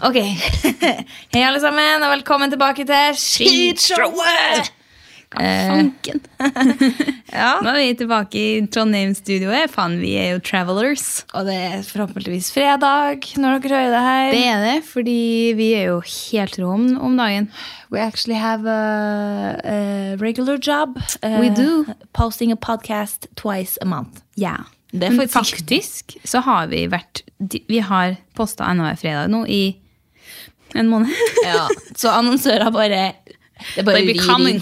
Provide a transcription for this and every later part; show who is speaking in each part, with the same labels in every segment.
Speaker 1: Ok. Hei, alle sammen, og velkommen tilbake til Skitshowet!
Speaker 2: Fanken.
Speaker 1: Ja.
Speaker 2: Eh, Nå er vi tilbake i Trondheim-studioet. Faen, vi er jo travelers.
Speaker 1: Og det er forhåpentligvis fredag når dere hører det her.
Speaker 2: Det er det, fordi vi er jo helt rå om, om dagen.
Speaker 1: We actually have a, a regular job. uh,
Speaker 2: We do.
Speaker 1: Posting a podcast twice a month.
Speaker 2: Ja.
Speaker 1: Det er
Speaker 2: Men
Speaker 1: faktisk-
Speaker 2: faktisk så har vi vært de- Vi har posta ennå hver fredag nå i en måned.
Speaker 1: Ja, Så annonsører bare Det
Speaker 2: They be coming.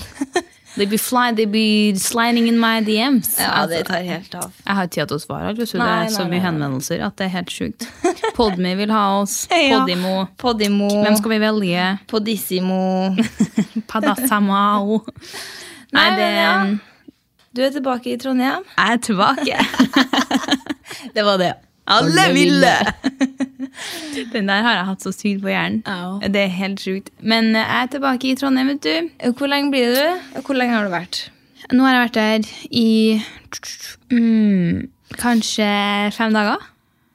Speaker 2: They be fly, they be sliding in my DMs.
Speaker 1: Ja, det tar helt av.
Speaker 2: Jeg har ikke tid til å svare. Vet du. Det
Speaker 1: Nei,
Speaker 2: er så
Speaker 1: nei,
Speaker 2: mye
Speaker 1: nei.
Speaker 2: henvendelser at det er helt sjukt. Podme vil ha oss.
Speaker 1: Ja.
Speaker 2: Podimo.
Speaker 1: Podimo,
Speaker 2: Hvem skal vi velge?
Speaker 1: Podissimo
Speaker 2: Padasamao. Nei,
Speaker 1: Nei,
Speaker 2: det
Speaker 1: men Du er tilbake i Trondheim.
Speaker 2: Jeg er tilbake.
Speaker 1: Det var det.
Speaker 2: Alle ville! Den der har jeg hatt så sykt på hjernen.
Speaker 1: Au.
Speaker 2: Det er helt sjukt. Men eh, jeg er tilbake i Trondheim, vet du.
Speaker 1: Hvor lenge blir du? Og Hvor lenge har du vært?
Speaker 2: Nå har jeg vært der i mm, kanskje fem dager.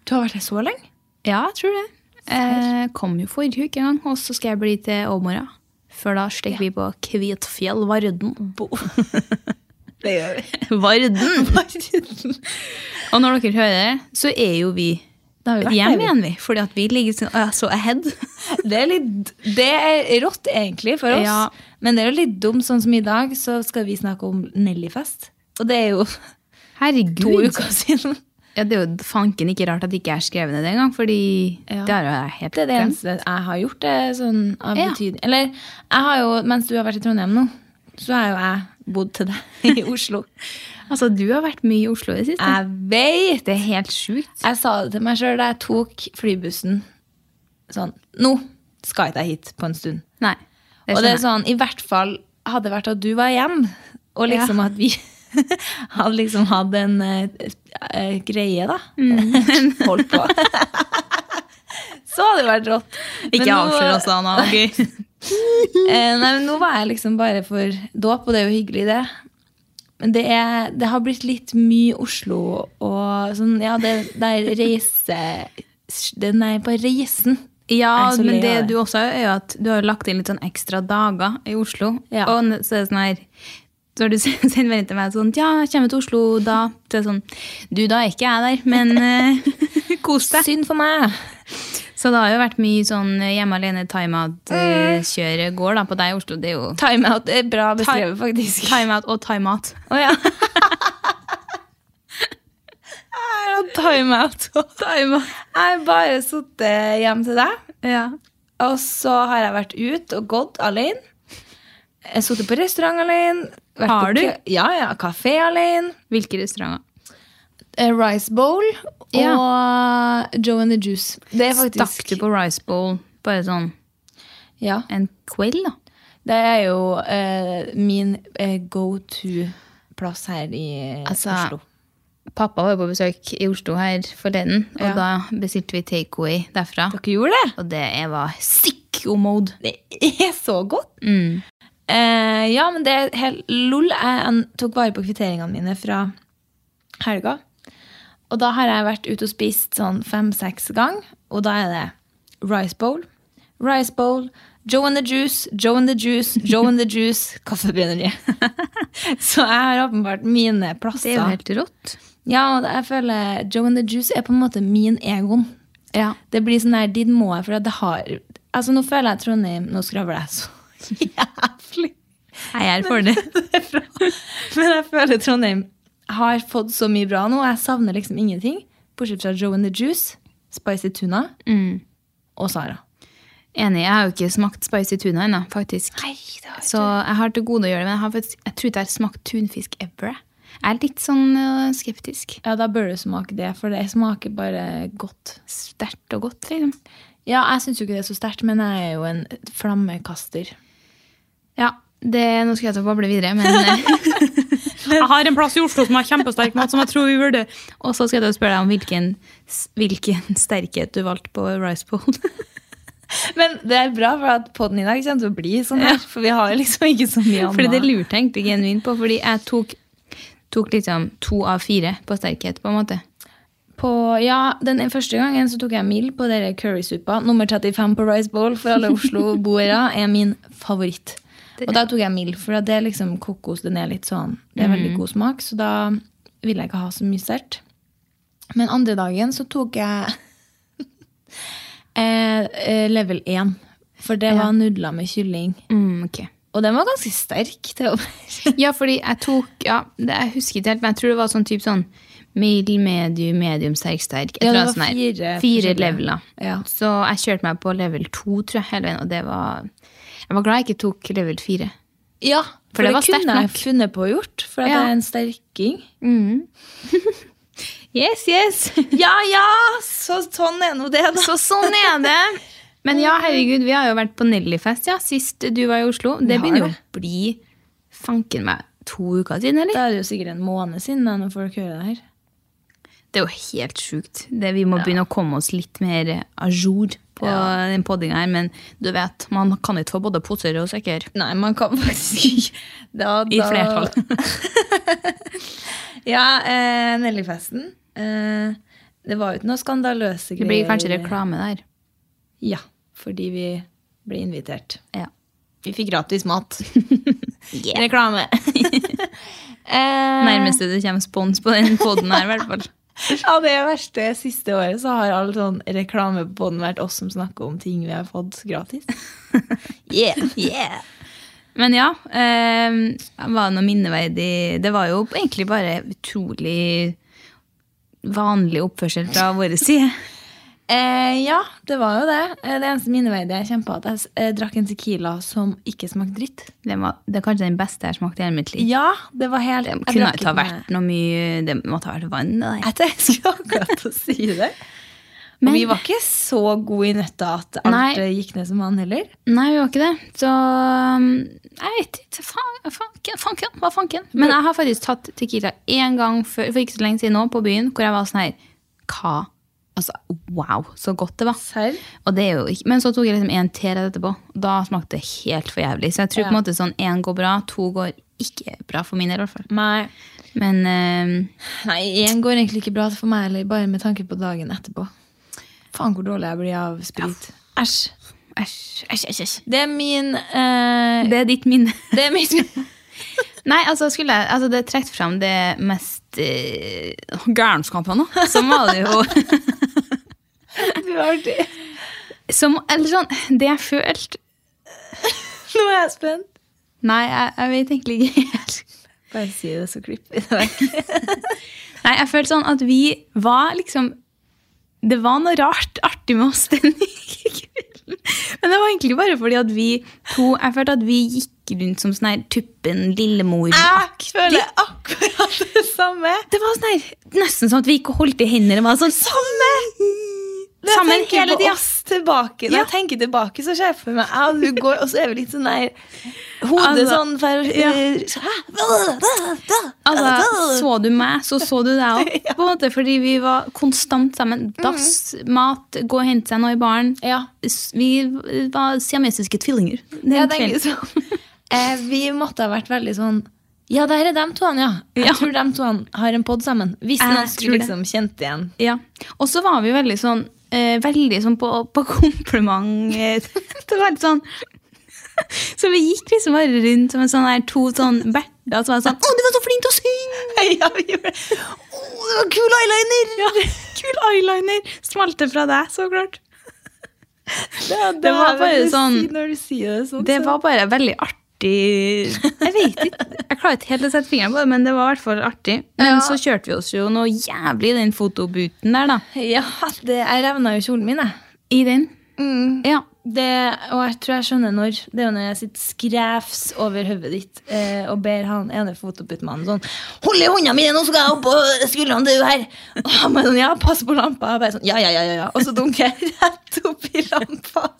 Speaker 1: Du har vært her så lenge?
Speaker 2: Ja, jeg tror det. Eh, kom jo forrige uke en gang, og så skal jeg bli til overmorgen. Før da stikker vi på Kvitfjell, Varden.
Speaker 1: Det gjør vi. Mm.
Speaker 2: Varden! Og når dere hører det, så er jo vi
Speaker 1: Da har vi vært
Speaker 2: hjemme
Speaker 1: der,
Speaker 2: igjen, vi. Fordi at vi ligger sånn, «Å, så ahead.
Speaker 1: Det er litt Det er rått, egentlig, for oss.
Speaker 2: Ja.
Speaker 1: Men det er jo litt dumt, sånn som i dag, så skal vi snakke om Nellyfest. Og det er jo
Speaker 2: Herregud.
Speaker 1: to uker siden.
Speaker 2: Ja, det er jo fanken ikke rart at det ikke er skrevet ned engang, fordi
Speaker 1: Ja.
Speaker 2: det har jo jeg helt
Speaker 1: Det er det
Speaker 2: glemt.
Speaker 1: eneste jeg har gjort. Det er sånn av
Speaker 2: Ja.
Speaker 1: betydning. Eller jeg har jo, mens du har vært i Trondheim nå, så har jo jeg bodd til deg i Oslo.
Speaker 2: Altså, du har vært mye i Oslo i det siste.
Speaker 1: Jeg vet!
Speaker 2: Det er helt sjukt.
Speaker 1: Jeg sa det til meg sjøl da jeg tok flybussen. Sånn Nå skal ikke jeg hit på en stund.
Speaker 2: Nei.
Speaker 1: og
Speaker 2: Det
Speaker 1: det
Speaker 2: skjønner
Speaker 1: er sånn, i hvert fall hadde det vært at du var igjen, og liksom at vi hadde liksom hatt en eh, eh, greie, da.
Speaker 2: Mhm.
Speaker 1: Holdt på. Så hadde det vært rått.
Speaker 2: jeg. Ikke altså. avslør oss, Anna. ok?
Speaker 1: Eh, nei, men nå var jeg liksom bare for dåp, og det er jo hyggelig, det. Men det, er, det har blitt litt mye Oslo og sånn Ja, det der reise... Den er på reisen.
Speaker 2: Ja,
Speaker 1: Jeg er så lei
Speaker 2: men det
Speaker 1: av det.
Speaker 2: du også har, er jo at du har jo lagt inn litt sånn ekstra dager i Oslo.
Speaker 1: Ja.
Speaker 2: Og n- så er det sånn her Så har du sen- sendt melding til meg sånn Ja, jeg kommer til Oslo da. Så er det sånn Du, da er ikke jeg der, men eh, kos deg.
Speaker 1: Synd for meg.
Speaker 2: Så det har jo vært mye sånn hjemme alene Mm. timeout-kjøret går da på deg i Oslo. Det er jo
Speaker 1: Timeout er bra beskrevet, faktisk.
Speaker 2: timeout og timeout.
Speaker 1: Å ja. Jeg har timeout. Jeg har bare sittet hjemme til deg.
Speaker 2: Ja.
Speaker 1: Og så har jeg vært ut og gått alene. Jeg har sittet på restaurant alene. vært
Speaker 2: Har
Speaker 1: på
Speaker 2: du?
Speaker 1: kø- Ja, ja. Kafé alene.
Speaker 2: Hvilke restauranter?
Speaker 1: eh, Rice Bowl og Joe and the Juice. Det er
Speaker 2: Stakk
Speaker 1: faktisk
Speaker 2: du på Rice Bowl bare sånn
Speaker 1: ja,
Speaker 2: en kveld, da?
Speaker 1: Det er jo eh, min eh, go to-plass her i
Speaker 2: Altså,
Speaker 1: Oslo.
Speaker 2: Pappa var jo på besøk i Oslo her forleden, og
Speaker 1: Ja.
Speaker 2: da bestilte vi takeaway derfra.
Speaker 1: Dere gjorde det?
Speaker 2: Og det jeg var sicko-mode.
Speaker 1: Det er så godt!
Speaker 2: Mm.
Speaker 1: Eh, ja, men det er helt lol. Jeg an- tok vare på kvitteringene mine fra helga. Og da har jeg vært ute og spist sånn fem-seks ganger. Og da er det rice bowl, rice bowl, Joe and the juice, Joe and the juice, Joe and the juice, kaffebrenneri. Så jeg har åpenbart mine
Speaker 2: Det er jo
Speaker 1: plasser.
Speaker 2: helt rått.
Speaker 1: Ja, og jeg føler Joe and the juice er på en måte min egon.
Speaker 2: Ja.
Speaker 1: Det blir sånn her, dit må jeg, for at det har Altså, nå føler jeg Trondheim Nå skravler jeg så jævlig.
Speaker 2: Jeg er for det.
Speaker 1: Men jeg føler Trondheim har fått så mye bra nå. Jeg savner liksom ingenting. Bortsett fra Joe and the Juice, Spicy Tuna
Speaker 2: Mm.
Speaker 1: og Sara.
Speaker 2: Enig. Jeg har jo ikke smakt spicy tuna ennå, faktisk.
Speaker 1: Nei, det
Speaker 2: Så jeg har til gode å gjøre det, men jeg, har faktisk, jeg tror ikke jeg har smakt tunfisk ever. jeg. Jeg er litt sånn øh, skeptisk.
Speaker 1: Ja, da bør du smake det, for det smaker bare godt.
Speaker 2: Sterkt og godt, liksom.
Speaker 1: Ja, jeg syns jo ikke det er så sterkt, men jeg er jo en flammekaster.
Speaker 2: Ja, det, nå skal jeg ta og bable videre, men eh, Jeg har en plass i Oslo som har kjempesterk mat, som jeg tror vi burde Og så skal jeg ta og spørre deg om hvilken, s- hvilken sterkhet du valgte på rice bowl.
Speaker 1: Men det er bra, for at podden i dag kommer til å bli sånn her. For vi har liksom ikke så mye
Speaker 2: Fordi det
Speaker 1: annet.
Speaker 2: lurte jeg egentlig genuint på, fordi jeg tok, tok liksom to av fire på sterkhet, på en måte.
Speaker 1: på Ja, den første gangen så tok jeg mild på dere currysuppa. Nummer 35 på Rice Bowl for alle Oslo-boere er min favoritt. Og da tok jeg mild, for det er liksom kokos. Den er litt sånn Det er veldig god smak, så da ville jeg ikke ha så mye sterkt. Men andre dagen så tok jeg eh, eh, level 1. For det var nudler med kylling.
Speaker 2: Mm, ok.
Speaker 1: Og den var ganske sterk til å være
Speaker 2: Ja, fordi jeg tok ja, det, Jeg husker ikke helt, men jeg tror det var sånn type sånn middel, medium, medium, sterk, sterk. et
Speaker 1: Ja, det var
Speaker 2: eller annet sånn her.
Speaker 1: fire
Speaker 2: fire
Speaker 1: forskjellige.
Speaker 2: leveler.
Speaker 1: Ja.
Speaker 2: Så jeg kjørte meg på level to, tror jeg, hele veien, og det var Jeg var glad jeg ikke tok level fire.
Speaker 1: Ja, for,
Speaker 2: det
Speaker 1: det,
Speaker 2: var sterkt
Speaker 1: kunne jeg
Speaker 2: nok.
Speaker 1: funnet på å gjort, for at
Speaker 2: Ja.
Speaker 1: jeg er en sterking.
Speaker 2: Yes, yes!
Speaker 1: Ja, ja, så sånn er nå det, da.
Speaker 2: Så sånn er det. Men ja, herregud, vi har jo vært på Nellyfest ja, sist du var i Oslo. Det
Speaker 1: har
Speaker 2: begynner jo
Speaker 1: det.
Speaker 2: å bli fanken meg to uker siden, eller?
Speaker 1: Da er det jo sikkert en måned siden da, når folk hører det her.
Speaker 2: Det er jo helt sjukt. Det, vi må begynne å komme oss litt mer à jour på den poddinga her. Men du vet, man kan ikke få både poser og sekker.
Speaker 1: Nei, man kan faktisk ikke da,
Speaker 2: I
Speaker 1: da-
Speaker 2: flertall.
Speaker 1: Ja, eh, Nellyfesten. Eh, det var jo ikke noe skandaløse
Speaker 2: Det
Speaker 1: greier.
Speaker 2: blir kanskje reklame der.
Speaker 1: Ja, fordi vi ble invitert.
Speaker 2: Ja.
Speaker 1: Vi fikk gratis mat.
Speaker 2: Yeah.
Speaker 1: Reklame. eh,
Speaker 2: Nærmeste det kommer spons på den podden her, i hvert fall.
Speaker 1: Ja, det verste siste året så har all sånn reklame på den vært oss som snakker om ting vi har fått gratis. yeah, yeah.
Speaker 2: Men ja, eh, var det noe minneverdig Det var jo egentlig bare utrolig vanlig oppførsel fra vår side.
Speaker 1: Eh, ja, det var jo det. Eh, Det eneste minneverdige jeg kjempa, at jeg s- eh, drakk en tequila som ikke smakte dritt.
Speaker 2: Det, var, det er kanskje den beste jeg har smakt i hele mitt liv.
Speaker 1: Ja, det var helt
Speaker 2: Det
Speaker 1: jeg
Speaker 2: kunne
Speaker 1: drakk
Speaker 2: ikke ha
Speaker 1: ikke med-
Speaker 2: vært noe mye Det måtte ha vært vann. det der.
Speaker 1: Jeg tenkte- jeg skulle akkurat til å si det. Men
Speaker 2: Men-
Speaker 1: vi var ikke så gode i nøtta at alt
Speaker 2: Nei.
Speaker 1: eh, gikk ned som han heller.
Speaker 2: Nei, vi var ikke det. Så um, jeg vet ikke. Faen, fanken, fanken, hva fanken? Men jeg har faktisk tatt Tequila én gang før, for ikke så lenge siden nå, på byen, hvor jeg var sånn her Hva? Altså, wow, så godt det var.
Speaker 1: Serr?
Speaker 2: Og det er jo ikke, men så tok jeg liksom en til rett etterpå. Da smakte det helt for jævlig. Så jeg tror på en måte sånn én går bra, to går ikke bra for min del, i hvert fall.
Speaker 1: Nei.
Speaker 2: Men um,
Speaker 1: Nei, én går egentlig ikke bra for meg heller, bare med tanke på dagen etterpå. Faen hvor dårlig jeg blir av sprit. Æsj.
Speaker 2: æsj, æsj, æsj, æsj.
Speaker 1: Det er min eh,
Speaker 2: Det er ditt minne.
Speaker 1: Det er min
Speaker 2: Nei, altså, skulle jeg, altså det er trukket fram det mest eh, gærenskapene, da. Som var det jo
Speaker 1: Du har det.
Speaker 2: som, Eller sånn, det jeg følte
Speaker 1: Nå er jeg spent.
Speaker 2: Nei, jeg, jeg vet egentlig ikke helt.
Speaker 1: Bare si det, så klipper vi det vekk.
Speaker 2: Nei, jeg følte sånn at vi var liksom Det var noe rart artig med oss den kvelden. Men det var egentlig bare fordi at vi to Jeg følte at vi gikk rundt som sånn her Tuppen Lillemor.
Speaker 1: Jeg føler akkurat Ah, det samme.
Speaker 2: Det var sånn her, nesten sånn at vi ikke holdt i hendene. Det var sånn
Speaker 1: Samme! Når jeg
Speaker 2: Sammen
Speaker 1: tenker
Speaker 2: hele
Speaker 1: på
Speaker 2: tida.
Speaker 1: oss tilbake, Når
Speaker 2: Ja.
Speaker 1: jeg tenker tilbake, så ser jeg for meg jeg og du går, og så er vi litt sånn der Hodet
Speaker 2: Altså,
Speaker 1: sånn for, eh,
Speaker 2: ja. Altså, så du meg, så så du deg òg. På en måte, fordi vi var konstant sammen. Dass, mat, gå og hente seg noe i baren.
Speaker 1: Ja.
Speaker 2: S- Vi var siamesiske tvillinger. den
Speaker 1: Jeg tenker
Speaker 2: kvelden.
Speaker 1: sånn eh, Vi måtte ha vært veldig sånn Ja, der er dem to, ja. Jeg
Speaker 2: Ja.
Speaker 1: tror dem to har en pod sammen. Hvis
Speaker 2: Jeg
Speaker 1: noen
Speaker 2: tror
Speaker 1: skulle
Speaker 2: det.
Speaker 1: liksom kjent igjen.
Speaker 2: Ja. Og så var vi veldig sånn eh, Veldig sånn på, på kompliment. eh, det var litt sånn Så vi gikk liksom bare rundt som en sånn der, to sånn berter som var sånn 'Å, du var så flink til å synge!'
Speaker 1: Ja, vi gjorde det. Å, det var kul eyeliner!
Speaker 2: Ja, Kul eyeliner! Smalte fra deg, så klart.
Speaker 1: det
Speaker 2: var
Speaker 1: er
Speaker 2: bare
Speaker 1: det du
Speaker 2: sånn-
Speaker 1: sier Når du sier det sånn,
Speaker 2: Det
Speaker 1: så-
Speaker 2: var bare veldig artig Jeg vet ikke. Jeg klarer ikke helt å sette fingeren på det, men det var i hvert fall artig. Men
Speaker 1: Ja.
Speaker 2: så kjørte vi oss jo noe jævlig i den fotobooten der, da.
Speaker 1: Ja, det, jeg revna jo kjolen min, jeg.
Speaker 2: I den. Ja.
Speaker 1: Det, og jeg tror jeg skjønner når. Det er jo når jeg sitter skrevs over hodet ditt eh, og ber han ene fotoputtmannen sånn Hold i hånda mi, nå skal jeg opp på skuldrene til hun her! Og han bare sånn, ja, pass på lampa. Og jeg bare sånn, ja, ja, ja, ja, ja. Og så dunker jeg rett opp i lampa.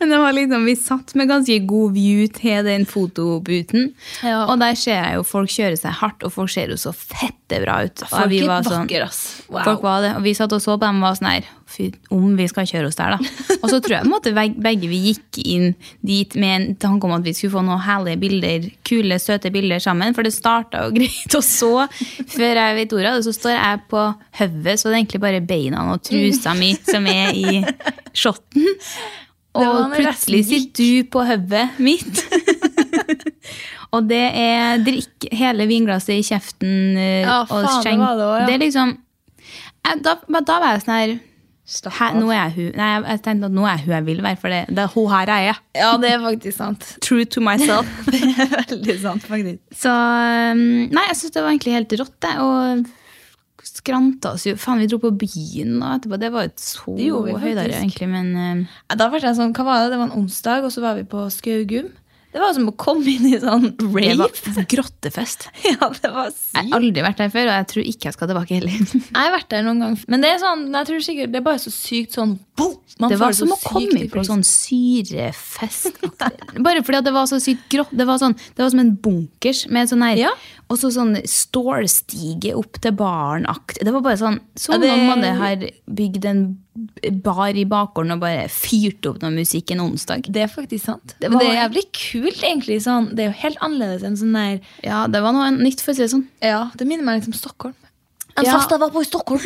Speaker 2: Men det var var liksom, vi satt med ganske god view til den fotobuten.
Speaker 1: Ja.
Speaker 2: Og der ser jeg jo folk kjøre seg hardt, og folk ser jo så fette bra ut. Og
Speaker 1: Folk
Speaker 2: vi
Speaker 1: er
Speaker 2: var sånn-
Speaker 1: vakre, ass. Wow.
Speaker 2: Folk var det. Og vi satt og så på dem og var sånn her Fy, om vi skal kjøre oss der, da. Og så tror jeg på en måte veg- begge vi gikk inn dit med en tanke om at vi skulle få noen herlige bilder, kule, søte bilder sammen. For det starta jo greit, og så, før jeg vet ordet av det, så står jeg på hodet, så det er egentlig bare beina og trusa mi som er i shotten.
Speaker 1: var
Speaker 2: Og
Speaker 1: når
Speaker 2: plutselig
Speaker 1: resten
Speaker 2: sitter du på hodet mitt. og det er drikk hele vinglasset i kjeften eh,
Speaker 1: Ja,
Speaker 2: og
Speaker 1: faen, det
Speaker 2: skjenk.
Speaker 1: var det også, ja.
Speaker 2: er liksom jeg, da, men da var jeg sånn her Hæ, nå er jeg hun Nei, jeg, jeg tenkte at nå er jeg hun jeg vil være, for det, det er hun her jeg er.
Speaker 1: Ja, det er faktisk sant.
Speaker 2: True to myself.
Speaker 1: Det er veldig sant, faktisk.
Speaker 2: Så um, Nei, jeg syns det var egentlig helt rått, det. Og skranta oss jo Faen, vi dro på byen og etterpå. Det var jo ikke så
Speaker 1: Det gjorde vi faktisk.
Speaker 2: høydere, egentlig, men um,
Speaker 1: Ja, Da ble jeg sånn, hva var det? Det var en onsdag, og så var vi på Skaugum. Det var som å komme inn i sånn
Speaker 2: det
Speaker 1: rave.
Speaker 2: var grottefest.
Speaker 1: Ja, det var
Speaker 2: Jeg
Speaker 1: sykt.
Speaker 2: har aldri vært der før, og jeg tror ikke jeg skal tilbake heller.
Speaker 1: Jeg har vært der noen gang. Men det er sånn, jeg tror sikkert, det er bare så sykt sånn boom! Man
Speaker 2: Det
Speaker 1: får
Speaker 2: var som å
Speaker 1: så sykt
Speaker 2: komme
Speaker 1: i
Speaker 2: på
Speaker 1: prisen.
Speaker 2: sånn syrefest. Bare fordi at det var så sykt grått. Det var, sånn, det var som en bunkers med sånn her
Speaker 1: Ja.
Speaker 2: Og så sånn stålstige opp til baren-akt. Det var bare sånn
Speaker 1: Ja,
Speaker 2: Som
Speaker 1: det-
Speaker 2: om man har bygd en bar i bakgården og bare fyrt opp noe musikk en onsdag.
Speaker 1: Det er faktisk sant.
Speaker 2: Det
Speaker 1: Men
Speaker 2: var-
Speaker 1: det er jævlig kult, egentlig. Sånn. Det er jo helt annerledes enn sånn der
Speaker 2: Ja, det var noe nytt, for å si det sånn.
Speaker 1: Ja, det minner meg litt om Stockholm. En
Speaker 2: Ja.
Speaker 1: fest jeg var på i Stockholm.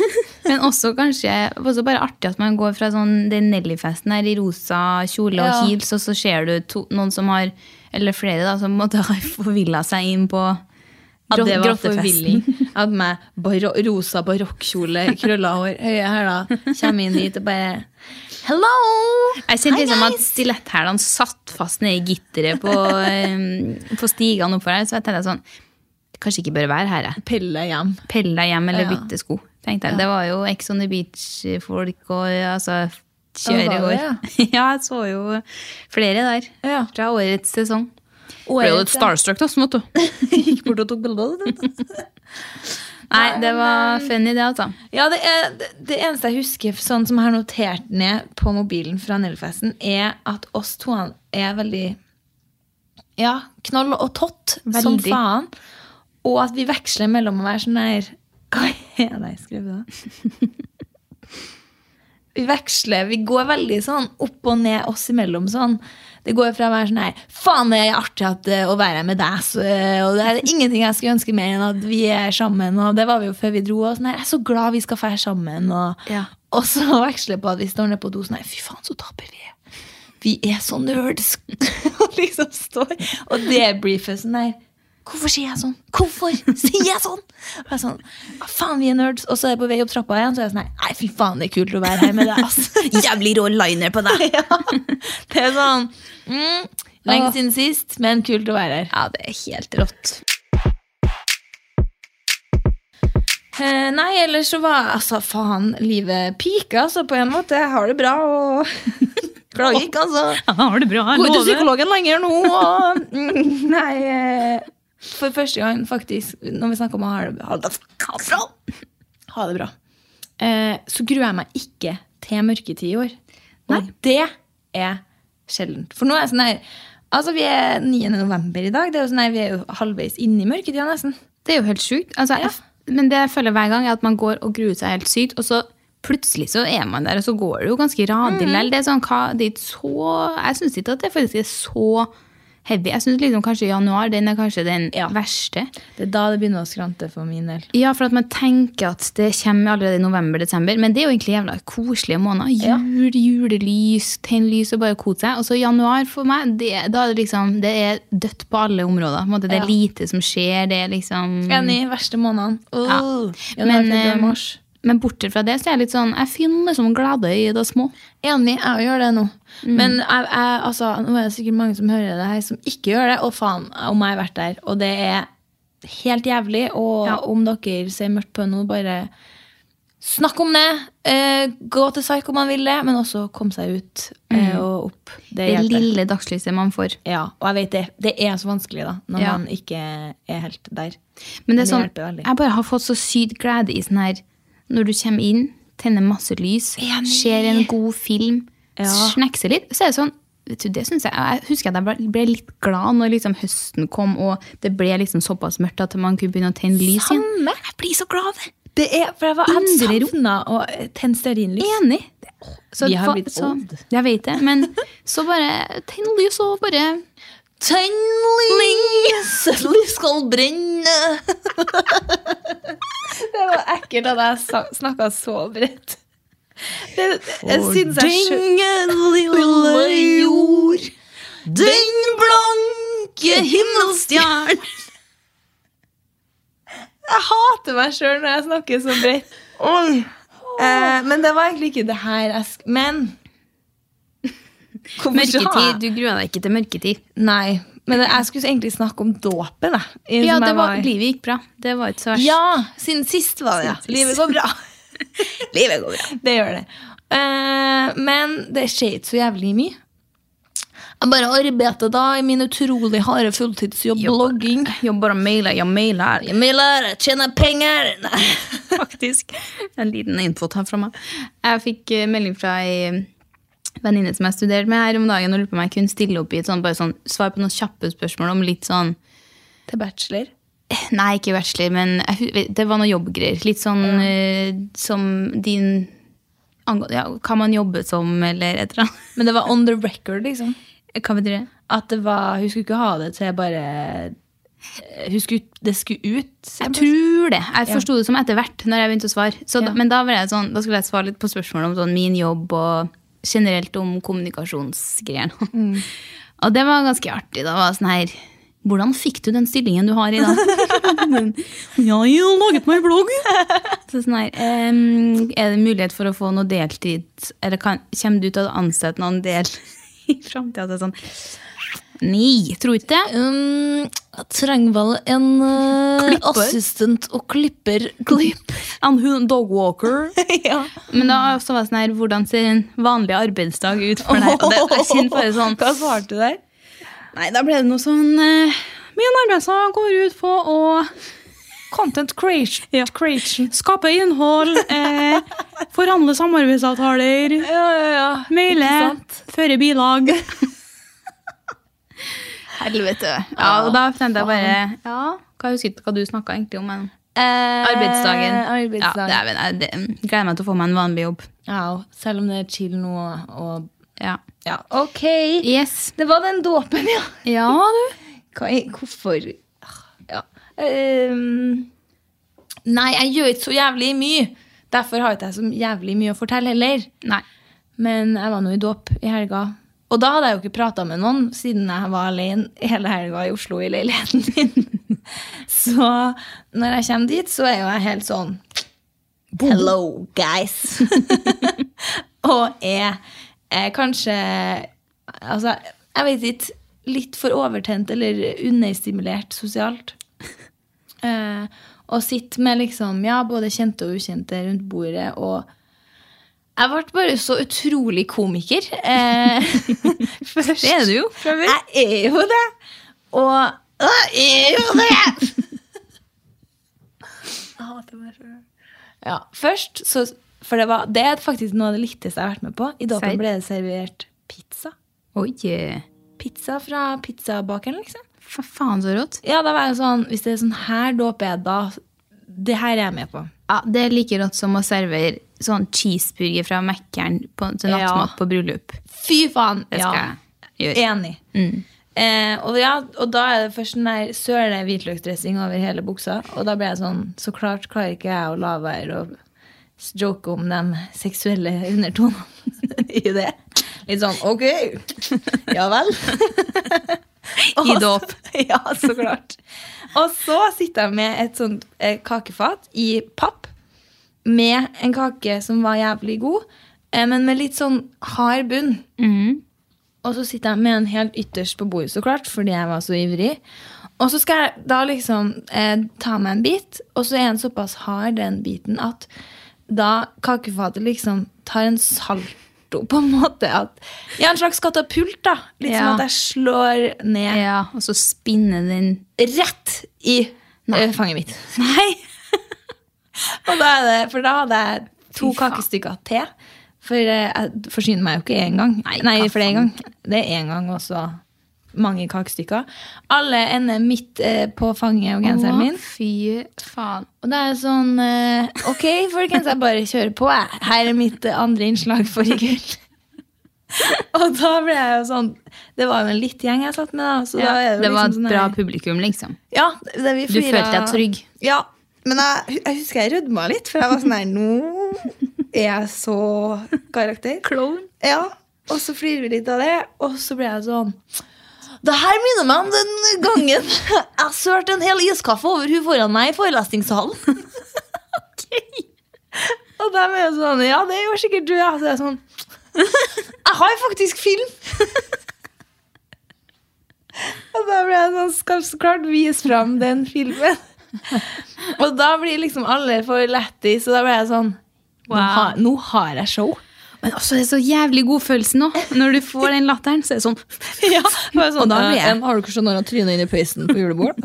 Speaker 2: Men også kanskje også bare artig at man går fra sånn, den Nelly-festen her i rosa kjole og
Speaker 1: Ja.
Speaker 2: heels, og så ser du to, noen som har, eller flere da, som måtte ha forvilla seg inn på
Speaker 1: At det var
Speaker 2: grottefesten.
Speaker 1: forvilling. At med baro rosa barokkjole, krølla hår, høye hæler, kommer inn hit og bare Hello!
Speaker 2: Jeg kjente
Speaker 1: Hi,
Speaker 2: liksom at
Speaker 1: guys!»
Speaker 2: stiletthælene satt fast nede i gitteret på, em, på stigene oppover her, så jeg tenkte sånn, kanskje ikke bør være her, jeg.
Speaker 1: Pelle hjem.
Speaker 2: Pelle deg hjem eller
Speaker 1: Ja.
Speaker 2: bytte sko, tenkte jeg. Det var jo Ex on the Beach-folk og ja, altså,
Speaker 1: Ja,
Speaker 2: kjøre
Speaker 1: det var
Speaker 2: i år.
Speaker 1: det,
Speaker 2: Ja, jeg så jo flere der.
Speaker 1: Ja.
Speaker 2: Fra årets sesong.
Speaker 1: Året
Speaker 2: starstruck, da, som
Speaker 1: gikk bort og tok bilder. vet du.
Speaker 2: Nei, det var funny, det, altså.
Speaker 1: Ja, det, er, det, det eneste jeg husker sånn som jeg har notert ned på mobilen fra Nellfesten, er at oss to er veldig ja, knoll og tott som
Speaker 2: Veldig.
Speaker 1: faen. Og at vi veksler mellom å være sånn der Hva er det jeg skrev da? Vi veksler. Vi går veldig sånn opp og ned oss imellom sånn. Det går fra å være sånn her Faen, det er artig at, eh, å være med deg, så, eh, og det er ingenting jeg skulle ønske mer enn at vi er sammen, og det var vi jo før vi dro, og sånn her Jeg er så glad vi skal fære sammen, og,
Speaker 2: Ja.
Speaker 1: og så veksler på at vi står ned på do sånn her Fy faen, så taper vi. Vi er så nerds! og liksom står og debrifer sånn her Hvorfor sier jeg sånn? Hvorfor sier jeg sånn? Og jeg er sånn, «Ja, Faen, vi er nerds. Og så er jeg på vei opp trappa igjen, så er jeg sånn her, Nei, fy faen, det er kult å være her med deg, ass.
Speaker 2: eh, Jævlig rå liner på deg.
Speaker 1: Ja. Det er sånn mm, Lenge
Speaker 2: Åh.
Speaker 1: siden sist, men kult å være her.
Speaker 2: Ja, det er helt rått.
Speaker 1: Eh, nei, ellers så var altså faen livet pika, så på en måte jeg har det bra og Klager ikke, altså.
Speaker 2: Har det bra,
Speaker 1: Går til psykologen lenger nå og mm, Nei. eh, For første gang, faktisk, når vi snakker om å ha det, ha det bra, ha det bra eh, så gruer jeg meg ikke til mørketid i år. Og det er sjeldent. For nå er jeg sånn her Altså, vi er 9. november i dag. Det er jo sånn her, vi er jo halvveis inne i mørketida, nesten.
Speaker 2: Det er jo helt sjukt. Altså, jeg- Men det jeg føler hver gang, er at man går og gruer seg helt sykt, og så plutselig så er man der, og så går det jo ganske radig lell. Det er sånn, hva, det er ikke så, jeg syns ikke at det faktisk er så heavy. Jeg syns liksom kanskje januar den er kanskje den
Speaker 1: Ja.
Speaker 2: verste.
Speaker 1: Det er da det begynner å skrante for min del.
Speaker 2: Ja, for at man tenker at det kommer allerede i november-desember, men det er jo egentlig jævla koselige måneder. Jul, julelys, tenn lys og bare kose seg. Og så januar for meg, det, da er det liksom Det er dødt på alle områder. På en måte, det er
Speaker 1: Ja.
Speaker 2: lite som skjer, det er liksom
Speaker 1: Enig. Verste månedene. Uh,
Speaker 2: Men,
Speaker 1: Januar, februar,
Speaker 2: eh,
Speaker 1: mars.
Speaker 2: men bortsett fra det, så er jeg litt sånn Jeg finner liksom glede i det små.
Speaker 1: Enig, jeg gjør det nå.
Speaker 2: Mm.
Speaker 1: Men jeg, jeg, altså, nå er det sikkert mange som hører det her, som ikke gjør det. Og faen om jeg har vært der. Og det er helt jævlig. Og
Speaker 2: Ja.
Speaker 1: om dere ser mørkt på det nå, bare snakk om det. Eh, gå til Psyk om man vil det, men også kom seg ut eh, og opp. Det
Speaker 2: Mm.
Speaker 1: hjelper.
Speaker 2: Det lille dagslyset man får.
Speaker 1: Ja, og jeg vet det. Det er så vanskelig da, når
Speaker 2: Ja.
Speaker 1: man ikke er helt der.
Speaker 2: Men det er sånn,
Speaker 1: hjelper veldig.
Speaker 2: jeg bare har fått så sykt glede i sånn her Når du kommer inn, tenner masse lys,
Speaker 1: Enig.
Speaker 2: ser en god film,
Speaker 1: Ja.
Speaker 2: snekser litt, så er det sånn Vet du, det synes jeg, jeg husker at jeg ble- ble litt glad når liksom høsten kom, og det ble liksom såpass mørkt at man kunne begynne å tenne lys igjen.
Speaker 1: Samme.
Speaker 2: Jeg blir så glad av det!
Speaker 1: Det er, for jeg var helt
Speaker 2: Indre ro.
Speaker 1: savna å tenne stearinlys.
Speaker 2: Enig. Så,
Speaker 1: Vi har
Speaker 2: fa-
Speaker 1: blitt
Speaker 2: så,
Speaker 1: old.
Speaker 2: Jeg vet det. Men så bare tenn lys og bare
Speaker 1: Tenn lys! Lys skal brenne! det var ekkelt at jeg snakka så bredt. Det, jeg syns jeg skjø-
Speaker 2: lille jord,
Speaker 1: Den blanke himmelstjern Jeg hater meg sjøl når jeg snakker så bredt. Eh, men det var egentlig ikke det her jeg sk... Men Hvorfor sa jeg-
Speaker 2: Mørketid. Du gruer deg ikke til mørketid.
Speaker 1: Nei. Men jeg skulle egentlig snakke om dåpen. jeg, i-
Speaker 2: Ja,
Speaker 1: som
Speaker 2: det
Speaker 1: jeg
Speaker 2: var,
Speaker 1: i.
Speaker 2: livet gikk bra. Det var ikke så verst.
Speaker 1: Ja, siden sist var det ja.
Speaker 2: Siden sist.
Speaker 1: Livet går bra. Livet går bra. Det gjør det. Eh, men det skjer ikke så jævlig mye. Jeg bare arbeider da i min utrolig harde fulltidsjobb,
Speaker 2: Jobber.
Speaker 1: blogging.
Speaker 2: Jobber og mailer. Ja, mailer.
Speaker 1: Jeg mailer, jeg tjener penger. Nei.
Speaker 2: faktisk. En liten infot her fra meg. Jeg fikk eh, melding fra ei venninne som jeg studerte med her om dagen, og lurte på om jeg kunne stille opp i et sånn, bare sånn, svar på noen kjappe spørsmål om litt sånn
Speaker 1: Til bachelor.
Speaker 2: eh, Nei, ikke bachelor, men jeg, hu- det var noe jobbgreier. Litt sånn eh, som din angå- ja, Hva man jobber som, eller et eller annet.
Speaker 1: Men det var on the record, liksom.
Speaker 2: Hva betyr det?
Speaker 1: At det var, Hun skulle ikke ha det til bare eh, hun skulle, Det skulle ut.
Speaker 2: Jeg tror det. Jeg
Speaker 1: Ja.
Speaker 2: forsto det som etter hvert. når jeg begynte å svare. Så, da-
Speaker 1: Ja.
Speaker 2: Men da, var jeg sånn, da skulle jeg svare litt på spørsmål om sånn min jobb og generelt om kommunikasjonsgreiene. Og det var ganske artig. Da var jeg sånn her Hvordan fikk du den stillingen du har i dag? ja, jeg har laget meg blogg. Så sånn her, ehm, er det mulighet for å få noe deltid? Eller kan, kommer du til å ansette noen del i framtida? Så sånn, Nei, tror ikke det.
Speaker 1: Um, jeg trenger vel en eh,
Speaker 2: Klipper.
Speaker 1: assistent og klipper. Klipp.
Speaker 2: And who, dog walker.
Speaker 1: ja.
Speaker 2: Men da så var jeg sånn her, hvordan ser en vanlig arbeidsdag ut for deg? Og det, jeg kjenner bare sånn,
Speaker 1: Hva svarte du der?
Speaker 2: nei, da ble det noe sånn, eh, min arbeidsdag går ut på å
Speaker 1: Content creation.
Speaker 2: Ja.
Speaker 1: creation.
Speaker 2: skape innhold, eh, forhandle samarbeidsavtaler,
Speaker 1: Ja, ja, ja.
Speaker 2: maile,
Speaker 1: Ikke sant?
Speaker 2: føre bilag. Helvete. Ja, og da tenkte jeg bare, ja, hva husker ikke hva du snakket egentlig om, men arbeidsdagen.
Speaker 1: Eh, arbeidsdagen.
Speaker 2: Ja, det, er- det, gleder meg til å få meg en vanlig jobb.
Speaker 1: Au, selv om det er chill nå og
Speaker 2: Ja.
Speaker 1: Ja, OK.
Speaker 2: Yes.
Speaker 1: Det var den dåpen, ja.
Speaker 2: Ja, du.
Speaker 1: Hva er, hvorfor Ja. Ehm, nei, jeg gjør ikke så jævlig mye. Derfor har ikke jeg så jævlig mye å fortelle heller.
Speaker 2: Nei.
Speaker 1: Men jeg var nå i dåp i helga. Og da hadde jeg jo ikke prata med noen, siden jeg var alene hele helga i Oslo i leiligheten min. Så når jeg kommer dit, så er jo jeg helt sånn Hello, guys! og er, er kanskje Altså, jeg vet ikke. Litt for overtent eller understimulert sosialt. Eh, og sitter med liksom, ja, både kjente og ukjente rundt bordet og jeg ble bare så utrolig komiker. Eh, først.
Speaker 2: Det er du jo, fra før.
Speaker 1: Jeg er jo det. Og øh, jeg er jo det! Jeg hater meg sjøl. Ja, først så For det, var, det er faktisk noe av det litteste jeg har vært med på. I
Speaker 2: Serr?
Speaker 1: dåpen ble det servert pizza.
Speaker 2: Oi, eh,
Speaker 1: Pizza fra pizzabakeren, liksom.
Speaker 2: fa faen så rått.
Speaker 1: Ja, da var jeg sånn Hvis det er sånn her dåp er, da Det her er jeg med på.
Speaker 2: Ja, det er like rått som å servere sånn cheeseburger fra Mækkern på- til
Speaker 1: Ja.
Speaker 2: nattmat på bryllup.
Speaker 1: Fy faen!
Speaker 2: Det skal jeg gjøre.
Speaker 1: Enig. Eh, og, ja, og da er det først den der søle hvitløksdressing over hele buksa. Og da ble jeg sånn Så klart klarer ikke jeg å la være å s- joke om de seksuelle undertonene i det. Litt sånn ok, ja vel.
Speaker 2: I dåp.
Speaker 1: Ja, så klart. Og så sitter jeg med et sånt eh, kakefat i papp med en kake som var jævlig god, eh, men med litt sånn hard bunn.
Speaker 2: Mm.
Speaker 1: Og så sitter jeg med en helt ytterst på bordet, så klart, fordi jeg var så ivrig. Og så skal jeg da liksom eh, ta meg en bit, og så er den såpass hard, den biten, at da kakefatet liksom tar en salto, på en måte. At, ja, en slags katapult, da. Litt
Speaker 2: Ja.
Speaker 1: som at jeg slår ned
Speaker 2: Ja, og så spinne den
Speaker 1: rett i eh, fanget mitt.
Speaker 2: Nei!
Speaker 1: Og da er det, for da hadde jeg to
Speaker 2: Fy faen.
Speaker 1: kakestykker til. For eh, jeg forsyner meg jo ikke én gang. Nei,
Speaker 2: hva
Speaker 1: for én gang. Det er én gang også mange kakestykker. Alle ender midt eh, på fanget og genseren min.
Speaker 2: fy faen.
Speaker 1: Og det er sånn eh, Ok, folkens, jeg bare kjører på. Jeg. Her er mitt eh, andre innslag for i kveld. og da ble jeg jo sånn Det var jo en litt gjeng jeg satt med, da. Så da er
Speaker 2: det
Speaker 1: det, jo
Speaker 2: var
Speaker 1: liksom
Speaker 2: et
Speaker 1: sånn
Speaker 2: bra
Speaker 1: her-
Speaker 2: publikum, liksom.
Speaker 1: Ja, det, vi
Speaker 2: Du
Speaker 1: flira-
Speaker 2: følte deg trygg.
Speaker 1: Ja. Men jeg, jeg husker jeg rødma litt, for jeg var sånn her Nå er jeg så karakter.
Speaker 2: Klovn.
Speaker 1: Ja, og så flirer vi litt av det, og så ble jeg sånn det her minner meg om den gangen jeg sølte en hel iskaffe over hun foran meg i forelesningssalen. Og de er jo sånn Ja, det gjør sikkert du, ja. Så jeg er sånn Jeg har faktisk film! Og da ble jeg sånn Skal så klart vise fram den filmen. Og da blir liksom alle for lættis, og da ble jeg sånn
Speaker 2: Wow.
Speaker 1: nå, har, nå har jeg show.
Speaker 2: Men også det er så jævlig god følelse nå. Når du får den latteren, så er det sånn
Speaker 1: Ja, bare sånn,
Speaker 2: Og da blir jeg-
Speaker 1: «Eh, Har du ikke sånn når han tryner inn i pøysen på julebord?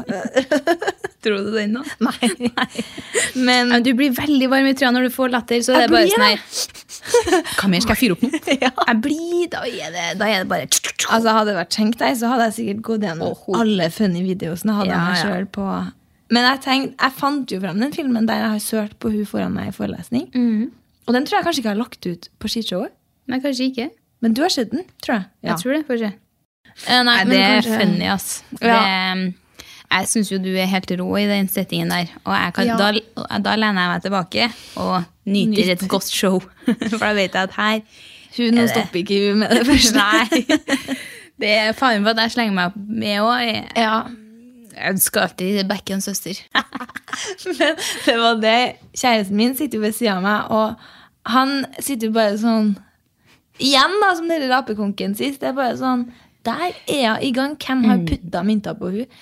Speaker 2: Tror du den nå?
Speaker 1: Nei. Men
Speaker 2: Ja, du blir veldig varm i trøya når du får latter, så det
Speaker 1: Jeg
Speaker 2: er bare
Speaker 1: blir
Speaker 2: sånn her Hva mer skal jeg fyre opp nå?
Speaker 1: ja.
Speaker 2: Jeg blir, da er det, da er det bare
Speaker 1: altså, hadde det vært skjenk deg, så hadde jeg sikkert gått gjennom
Speaker 2: Åh, ho.
Speaker 1: alle funny videosene. Hadde jeg
Speaker 2: Ja,
Speaker 1: meg
Speaker 2: ja.
Speaker 1: selv på. Men jeg, tenkte, jeg fant jo fram den filmen der jeg har sølt på hun foran meg i forelesning. Og den tror jeg kanskje ikke har lagt ut på skishowet.
Speaker 2: Nei, kanskje ikke.
Speaker 1: Men du har sett den, tror jeg. Ja.
Speaker 2: Jeg tror det, kanskje.
Speaker 1: Eh, nei,
Speaker 2: Nei,
Speaker 1: men
Speaker 2: det er
Speaker 1: kanskje-
Speaker 2: funny, ass.
Speaker 1: Ja.
Speaker 2: Det, jeg syns jo du er helt rå i den settingen der. Og jeg kan,
Speaker 1: Ja.
Speaker 2: da, da lener jeg meg tilbake og nyter
Speaker 1: Nyter.
Speaker 2: et godt show. For da vet jeg at her
Speaker 1: Hun nå stopper ikke hun med det første.
Speaker 2: Nei. Det er faren for at jeg slenger meg med òg.
Speaker 1: Ja,
Speaker 2: Jeg ønsker alltid back en søster.
Speaker 1: Men det var det. Kjæresten min sitter jo ved siden av meg, og han sitter jo bare sånn Igjen, da, som dere rapekonken sist. Det er bare sånn Der er hun i gang. Hvem har putta mynter på hun?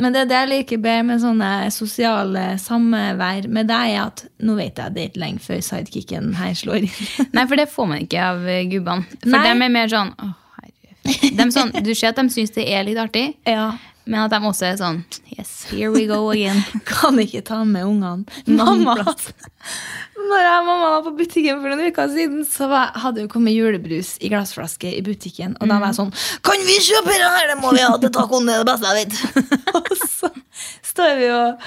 Speaker 1: Men det er det jeg liker bedre med sånne sosiale samvær med deg, er at nå vet jeg det er ikke lenge før sidekicken her slår inn.
Speaker 2: Nei, for det får man ikke av eh, gubbene. For
Speaker 1: Nei.
Speaker 2: dem er mer sånn, «Åh, herre». Dem sånn Du ser at de syns det er litt artig,
Speaker 1: Ja.
Speaker 2: men at de også er sånn Yes, here we go again.
Speaker 1: Kan ikke ta med ungene. Mamma! Når jeg og mamma var på butikken for noen uker siden, så var, hadde jo kommet julebrus i glassflaske i butikken. Og da var jeg sånn Kan vi kjøpe den her? Det må vi ha til tacoen! Det er det beste jeg vet. og så står vi og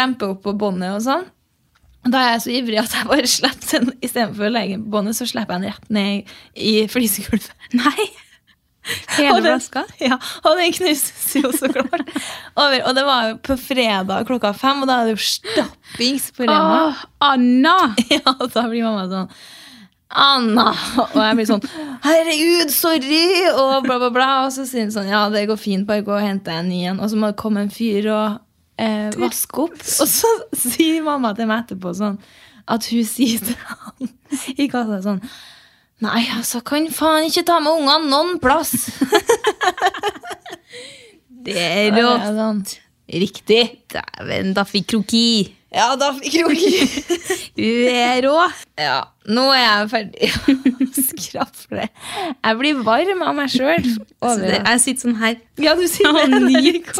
Speaker 1: lemper opp på båndet og sånn. Og Da er jeg så ivrig at jeg bare slipper den istedenfor å legge den på båndet, så slipper jeg den rett ned i flisegulvet.
Speaker 2: Nei! Hele
Speaker 1: Og den-
Speaker 2: flaska.
Speaker 1: Ja, og den knuses jo så klart. Over, og det var jo på fredag klokka fem, og da er det jo stappings på Rema.
Speaker 2: Åh, Anna!
Speaker 1: Ja, og da blir mamma sånn Anna! Og jeg blir sånn Herregud, sorry! Og bla, bla, bla. Og så sier hun sånn Ja, det går fint, bare gå og hente en ny en. Og så må det komme en fyr og eh, vaske opp. Og så sier mamma til meg etterpå sånn at hun sier til han i kassa sånn Nei, altså, kan faen ikke ta med ungene noen plass!
Speaker 2: Det er
Speaker 1: Og
Speaker 2: rått.
Speaker 1: jeg er sånn, Riktig!
Speaker 2: Dæven, da fikk kroki.
Speaker 1: Ja, da fikk jo ikke
Speaker 2: Du er rå.
Speaker 1: Ja, nå er jeg ferdig å skrafle. Jeg blir varm av meg sjøl.
Speaker 2: Så det, jeg sitter sånn her.
Speaker 1: Ja, du sier
Speaker 2: Å,
Speaker 1: det.
Speaker 2: ny
Speaker 1: Erik,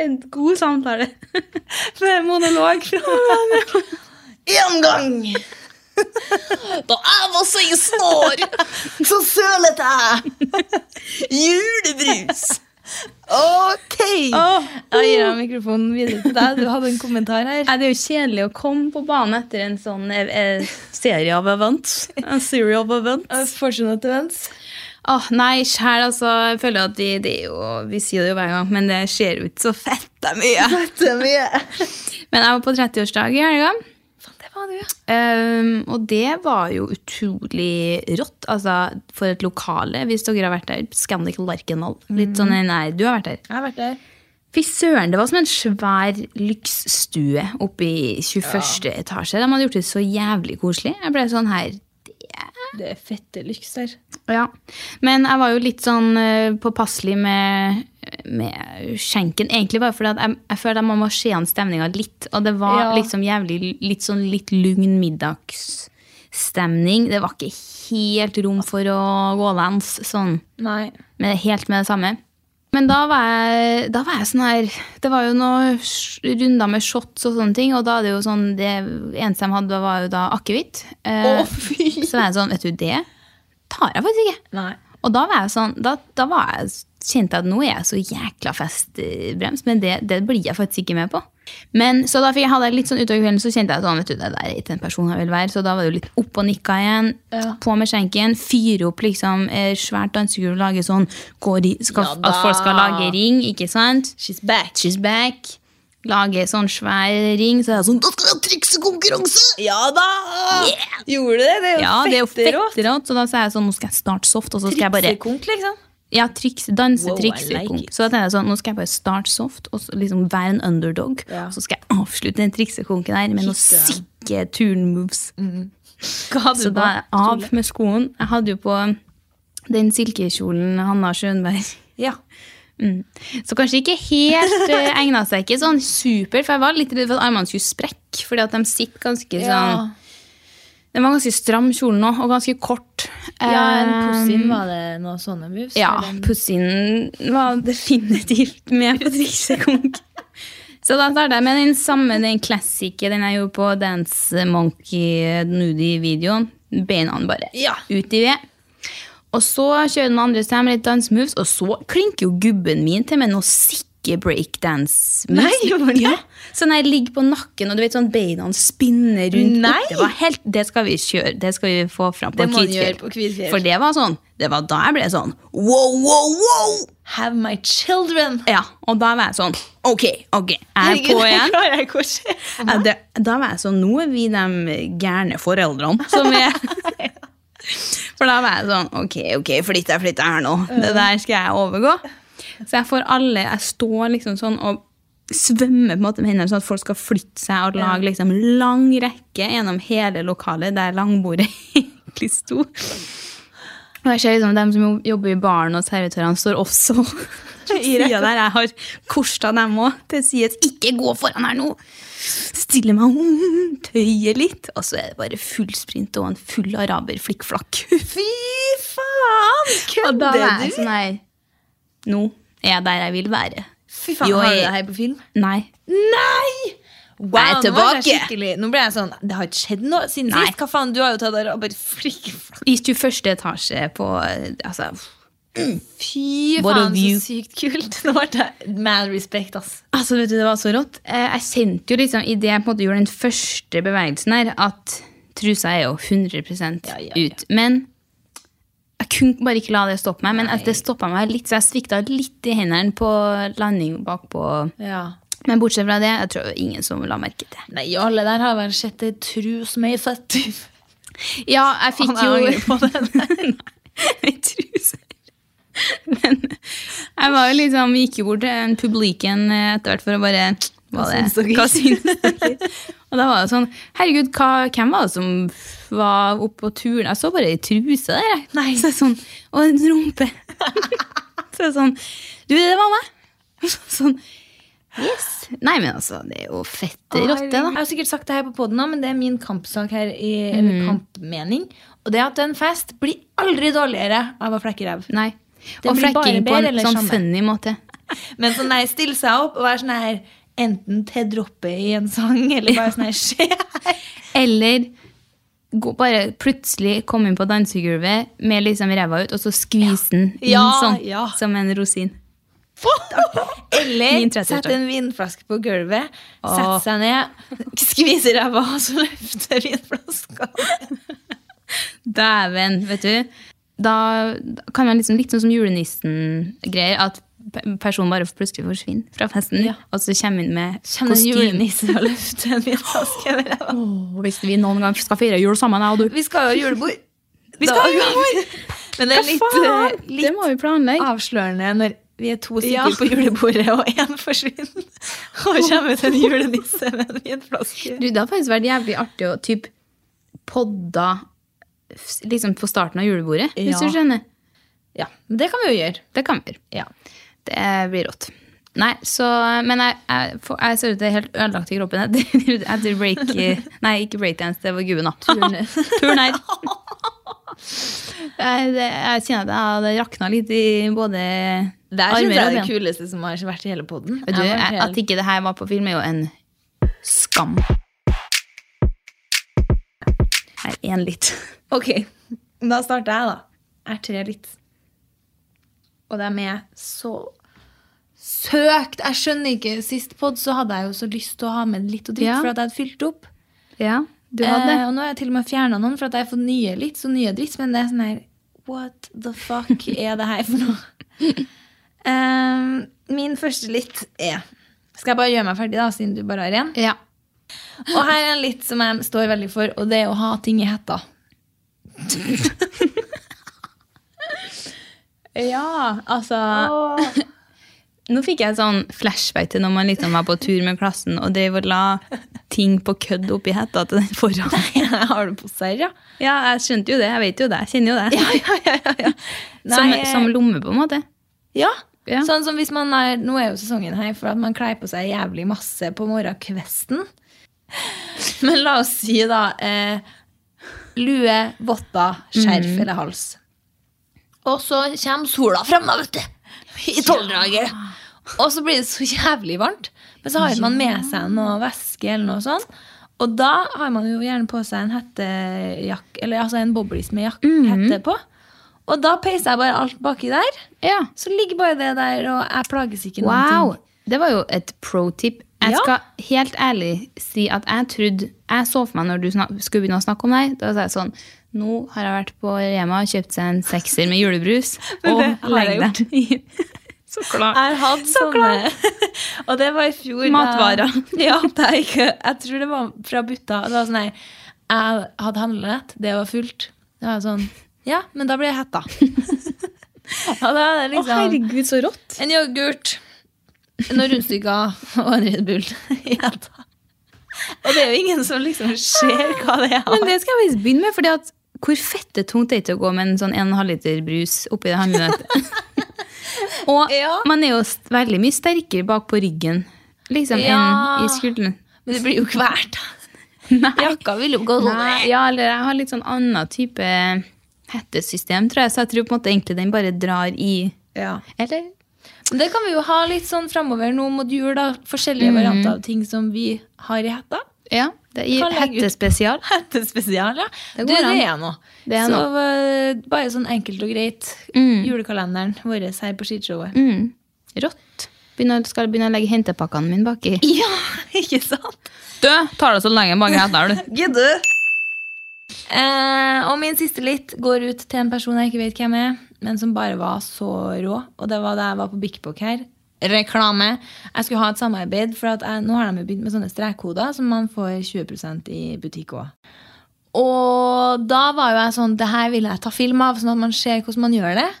Speaker 2: En god samtale.
Speaker 1: Det er en monolog fra meg.
Speaker 3: En gang da jeg var 16 år, så sølet jeg julebrus.
Speaker 1: Ok! Jeg gir deg mikrofonen videre til deg. Du hadde en kommentar her.
Speaker 2: Nei, det er jo kjedelig å komme på banen etter en sånn eh, eh, serie av events. En serie of events.
Speaker 1: Fortunate events.
Speaker 2: Åh, nei, sjæl, altså. Jeg føler at de, det er jo, Vi sier det jo hver gang, men det skjer jo ikke så fett det er mye.
Speaker 3: Dette er mye.
Speaker 2: Men jeg var på 30-årsdag i helga.
Speaker 1: Faen, det var du, ja.
Speaker 2: Ehm, og det var jo utrolig rått. Altså, for et lokale, hvis dere har vært der. Scandic Larkenhall. Litt sånn, nei, du har vært der.
Speaker 1: Jeg har vært der.
Speaker 2: Fy søren, det var som en svær lyksstue oppe i 21. etasje. De hadde gjort det så jævlig koselig. Jeg ble sånn her
Speaker 1: Det er fette lyks der.
Speaker 2: Ja. Men jeg var jo litt sånn eh, påpasselig med, med skjenken. Egentlig bare fordi at jeg, jeg følte at man må se an stemninga litt. Og det var
Speaker 1: Ja.
Speaker 2: liksom jævlig litt sånn litt lugn middagsstemning. Det var ikke helt rom for å gå lands sånn
Speaker 1: Nei.
Speaker 2: med, helt med det samme. Men da var, jeg, da var jeg sånn her Det var jo noen sj- runder med shots og sånne ting, og da er det jo sånn Det eneste de hadde, var jo da akevitt. Eh,
Speaker 1: fy!
Speaker 2: så var jeg sånn Vet du, det tar jeg faktisk ikke.
Speaker 1: Nei.
Speaker 2: Og da var jeg sånn, da, da var jeg, kjente jeg at nå er jeg så jækla festbrems, men det, det blir jeg faktisk ikke med på. Men så da fikk jeg hadde jeg litt sånn utover kvelden, så kjente jeg at sånn, vet du, det der er ikke den personen jeg vil være. Så da var det jo litt opp og nikka igjen,
Speaker 1: Ja.
Speaker 2: på med skjenken, fyre opp liksom eh, svært dansegulv, lage sånn, går i, skal,
Speaker 1: Ja da.
Speaker 2: at folk skal lage ring, ikke sant?
Speaker 1: She's back.
Speaker 2: She's back. Lage sånn svær ring, så er jeg sånn, da skal jeg ha triksekonkurranse!
Speaker 1: Ja da! Gjorde du det? Det er jo
Speaker 2: Ja, det er jo
Speaker 1: fette rått.
Speaker 2: fetterått. Så da sa jeg sånn, nå skal jeg starte soft, og så skal jeg bare
Speaker 1: Triksekonk, liksom.
Speaker 2: ja, triks, danse,
Speaker 1: Wow, I
Speaker 2: triks,
Speaker 1: like
Speaker 2: konk.
Speaker 1: it.
Speaker 2: Så da tenkte jeg sånn, nå skal jeg bare starte soft, og så liksom være en underdog.
Speaker 1: Ja.
Speaker 2: Og så skal jeg avslutte den triksekonken her med noen
Speaker 1: Shit,
Speaker 2: sikke turn-moves.
Speaker 1: Mm, Hva hadde
Speaker 2: Så
Speaker 1: du
Speaker 2: da
Speaker 1: på?
Speaker 2: er jeg av med skoen. Jeg hadde jo på den silkekjolen Hanna Schønberg.
Speaker 1: Ja.
Speaker 2: Mm. Så kanskje ikke helt eh, egnet seg ikke sånn super, for jeg var litt redd for at armene skulle sprekke, fordi at de sitter ganske sånn... Den var ganske stram kjolen nå, og ganske kort.
Speaker 1: ja, en pussin
Speaker 2: Eh,
Speaker 1: var det noen sånne moves?
Speaker 2: Ja,
Speaker 1: eller?
Speaker 2: pussinen var definitivt med på triksekonk. Så da startet jeg med den samme, den klassiske, den jeg gjorde på Dance Monkey Nudie-videoen. Beina bare
Speaker 1: Ja.
Speaker 2: ut i ved. Og så kjører den andre seg med litt dance moves, og så klinker jo gubben min til med noe sikke breakdance moves.
Speaker 1: Nei, gjorde han det?
Speaker 2: Ja. Sånn jeg ligger på nakken, og du vet sånn beina spinner rundt.
Speaker 1: Nei.
Speaker 2: opp. Det, var helt, det skal vi kjøre, det skal vi få fram på
Speaker 1: Det må han
Speaker 2: Kvitfjell.
Speaker 1: gjøre på Kvitfjell.
Speaker 2: For det var sånn, det var da jeg ble sånn, wow, wow, wow!
Speaker 1: Have my children!
Speaker 2: Ja, og da var jeg sånn, ok, ok, jeg er
Speaker 1: Herregud,
Speaker 2: på
Speaker 1: det
Speaker 2: igjen.
Speaker 1: klarer jeg ikke å se.
Speaker 2: Ja, det, da var jeg sånn, nå er vi de gærne foreldrene som er... For da var jeg sånn, ok, ok, flytt deg, flytt deg her nå. Det der skal jeg overgå. Så jeg får alle, jeg står liksom sånn og svømmer på en måte med hendene sånn at folk skal flytte seg og lage liksom lang rekke gjennom hele lokalet der langbordet egentlig sto. Og jeg ser liksom dem som jobber i baren og servitørene står også på siden der. Jeg har korsa dem også til sides. Ikke gå foran her nå! Stille meg om, tøye litt. Og så er det bare full sprint og en full araber flikkflakk.
Speaker 1: Fy faen!
Speaker 2: Og da
Speaker 1: Kødder
Speaker 2: var jeg
Speaker 1: du?
Speaker 2: sånn her Nå er jeg der jeg vil være.
Speaker 1: Fy faen,
Speaker 2: Jo,
Speaker 1: har du
Speaker 2: jeg-
Speaker 1: det her på film?
Speaker 2: Nei.
Speaker 1: Nei! Wow,
Speaker 2: Jeg er
Speaker 1: nå ble jeg
Speaker 2: tilbake.
Speaker 1: skikkelig- Nå ble jeg sånn Det har ikke skjedd noe siden
Speaker 2: Nei.
Speaker 1: sist. Hva faen, du har jo tatt araber flikkflakk.
Speaker 2: I 21. etasje på altså,
Speaker 1: Fy
Speaker 2: What a
Speaker 1: faen,
Speaker 2: view.
Speaker 1: så sykt kult. Nå ble jeg mad respect, ass.
Speaker 2: altså, vet du, Det var så rått. Eh, Jeg kjente jo liksom idet jeg på en måte gjorde den første bevegelsen her, at trusa er jo 100
Speaker 1: Ja, ja, ja.
Speaker 2: ut. Men jeg kunne bare ikke la det stoppe meg. Men at det stoppa meg litt, så jeg svikta litt i hendene på landing bakpå.
Speaker 1: Ja.
Speaker 2: Men bortsett fra det, jeg tror ingen som la merke til.
Speaker 1: Nei, alle der har vel sett ei tru som er i fett.
Speaker 2: Ja, jeg fikk
Speaker 1: Faen, jeg
Speaker 2: jo Nei, truser. Men jeg var jo liksom, gikk jo bort til en publiken eh, etter hvert for å bare hva det-
Speaker 1: syns dere?
Speaker 2: Hva syns dere? Og da var det sånn Herregud, hva, hvem var det som var oppe på turen? Jeg så bare ei truse der. jeg.
Speaker 1: Nei.
Speaker 2: Så jeg sånn, og en rumpe. så jeg sånn Du, det var meg. Sånn Yes. Nei, men altså, det er jo fette rotte, da.
Speaker 1: Jeg har sikkert sagt det her på poden òg, men det er min kampsak her. I, eller
Speaker 2: Mm.
Speaker 1: kampmening. Og det at en fest blir aldri dårligere av å flekke ræv.
Speaker 2: Nei.
Speaker 1: Det
Speaker 2: og
Speaker 1: blir bare
Speaker 2: flekking på
Speaker 1: bedre
Speaker 2: en
Speaker 1: eller
Speaker 2: sånn
Speaker 1: samme?
Speaker 2: funny måte.
Speaker 1: Men sånn der, stille seg opp og være sånn her Enten til droppe i en sang, eller bare sånn her skje her.
Speaker 2: Eller gå, bare plutselig komme inn på dansegulvet med liksom ræva ut, og så skvise den inn
Speaker 1: Ja,
Speaker 2: sånn,
Speaker 1: ja.
Speaker 2: som en rosin. Min
Speaker 1: Eller
Speaker 2: 30-årsdag.
Speaker 1: sette en vinflaske på gulvet, sette
Speaker 2: Åh.
Speaker 1: seg ned, skvise ræva, og så løfte vinflaska.
Speaker 2: Dæven, vet du. Da da kan man liksom, litt sånn som julenissen-greier, at pe- personen bare plutselig forsvinner fra festen,
Speaker 1: Ja.
Speaker 2: og så kommer inn med
Speaker 1: Kjenner en
Speaker 2: kostyme.
Speaker 1: julenisse og løfter en vinflaske over ræva.
Speaker 2: Åh, hvis vi noen gang skal feire jul sammen, jeg og du.
Speaker 1: Vi skal jo ha julebord.
Speaker 2: Vi skal ha
Speaker 1: julebord! Men det
Speaker 2: Hva
Speaker 1: er litt,
Speaker 2: faen?
Speaker 1: eh,
Speaker 2: det
Speaker 1: litt
Speaker 2: må vi planlegge.
Speaker 1: avslørende når vi er to stykker
Speaker 2: Ja.
Speaker 1: på julebordet, og én forsvinner. Og kommer ut en julenisse med en vinflaske.
Speaker 2: Du, det hadde faktisk vært jævlig artig å typ podda f- liksom på starten av julebordet,
Speaker 1: Ja.
Speaker 2: hvis du skjønner.
Speaker 1: Ja, men det kan vi jo gjøre.
Speaker 2: Det kan vi gjøre.
Speaker 1: Ja.
Speaker 2: Det blir rått. Nei, så, men jeg, jeg, får- jeg ser ut til helt ødelagt i kroppen etter, etter break... eh, Nei, ikke breakdance, det var gubben, da. Turn her. Jeg, det- jeg kjenner at jeg hadde rakna litt i både
Speaker 1: Det er
Speaker 2: armer og
Speaker 1: det
Speaker 2: ben.
Speaker 1: kuleste som har vært i hele poden.
Speaker 2: Vet du, jeg, at ikke det her var på film, er jo en skam. Her, én litt.
Speaker 1: Ok, da starter jeg, da. Jeg er tre litt. og de er så søkt. Jeg skjønner ikke, Sist pod så hadde jeg jo så lyst til å ha med litt og dritt,
Speaker 2: Ja.
Speaker 1: for at jeg hadde fylt opp.
Speaker 2: Ja, du hadde.
Speaker 1: Eh, og nå har jeg til og med fjerna noen, for at jeg har fått nye litt, så nye dritt. Men det er sånn her What the fuck er det her for noe? Em, min første litt er Skal jeg bare gjøre meg ferdig, da, siden du bare har én?
Speaker 2: Ja.
Speaker 1: Og her er en litt som jeg står veldig for, og det er å ha ting i hetta. ja, altså
Speaker 2: Nå fikk jeg et sånn flashback til når man liksom var på tur med klassen og drev og la ting på kødd oppi hetta til den foran.
Speaker 1: Jeg har det på serr, ja.
Speaker 2: Ja, jeg skjønte jo det. Jeg vet jo det. Jeg kjenner jo det. eh, Som,
Speaker 1: Nei, eh,
Speaker 2: som lomme, på en måte.
Speaker 1: ja.
Speaker 2: Ja.
Speaker 1: Sånn som hvis man er, Nå er jo sesongen her for at man kler på seg jævlig masse på morgenkvesten. Men la oss si, da eh, Lue, votter, skjerf
Speaker 2: Mm.
Speaker 1: eller hals. Og så kommer sola frem, da, vet du. I tolvdraget. Og så blir det så jævlig varmt. Men så har man med seg noe væske eller noe sånt. Og da har man jo gjerne på seg en hettejakk, eller altså en boblis med jakk, hette på. Og da peiser jeg bare alt baki der.
Speaker 2: Ja.
Speaker 1: Så ligger bare det der, og jeg plages ikke
Speaker 2: Wow!
Speaker 1: noen ting.
Speaker 2: Det var jo et pro-tip. Jeg
Speaker 1: Ja.
Speaker 2: skal helt ærlig si at jeg trodde Jeg så for meg når du snak, skulle begynne å snakke om deg, da sa jeg sånn Nå har jeg vært på Rema og kjøpt seg en sekser med julebrus.
Speaker 1: Men
Speaker 2: og
Speaker 1: det har jeg
Speaker 2: legger den i Så klart.
Speaker 1: Jeg har hatt sånne. Og det var i fjor. da-
Speaker 2: Matvarer.
Speaker 1: ja, det er ikke, jeg tror det var fra butta. Det var sånn her, jeg hadde handlenett, det var fullt. Det var sånn, ja, men da blir jeg hetta. Og da er det
Speaker 2: Å,
Speaker 1: liksom
Speaker 2: herregud, så rått!
Speaker 1: en yoghurt, noen rundstykker og en Red Bull i hetta. Og det er jo ingen som liksom ser hva det er.
Speaker 2: Men det skal jeg faktisk begynne med, fordi at hvor fettetungt det er ikke å gå med en sånn 1,5 liter brus oppi det handlenettet. og
Speaker 1: Ja.
Speaker 2: man er jo s- veldig mye sterkere bak på ryggen liksom,
Speaker 1: Ja.
Speaker 2: enn i skulderen.
Speaker 1: Men det blir jo hvert.
Speaker 2: Nei.
Speaker 1: Jakka vil jo gå sånn.
Speaker 2: Nei, ja, eller jeg har litt sånn annen type hettesystem, tror jeg. Så jeg tror på en måte egentlig den bare drar i
Speaker 1: Ja.
Speaker 2: Eller?
Speaker 1: Men Det kan vi jo ha litt sånn framover nå mot jul. da, Forskjellige
Speaker 2: Mm.
Speaker 1: varianter av ting som vi har i hetta.
Speaker 2: Ja. Det i
Speaker 1: Kan legge ut.
Speaker 2: hettespesial.
Speaker 1: Hettespesial, ja.
Speaker 2: Det
Speaker 1: du,
Speaker 2: går an.
Speaker 1: det er noe.
Speaker 2: Det er
Speaker 1: Så eh, bare sånn enkelt og greit. Julekalenderen vår her på skishowet.
Speaker 2: Mm. Rått. Begynner, skal begynne å legge hentepakkene mine baki.
Speaker 1: Ja, ikke sant?
Speaker 2: Du, tar det så lenge bak hetter, du.
Speaker 3: Gidde.
Speaker 1: Eh, og min siste litt går ut til en person jeg ikke vet hvem er, men som bare var så rå. Og det var da jeg var på Bik Bok her. Reklame. Jeg skulle ha et samarbeid, for at jeg, nå har de jo begynt med sånne strekkoder som man får 20 i butikk òg. Og da var jo jeg sånn Det her vil jeg ta film av, sånn at man ser hvordan man gjør det.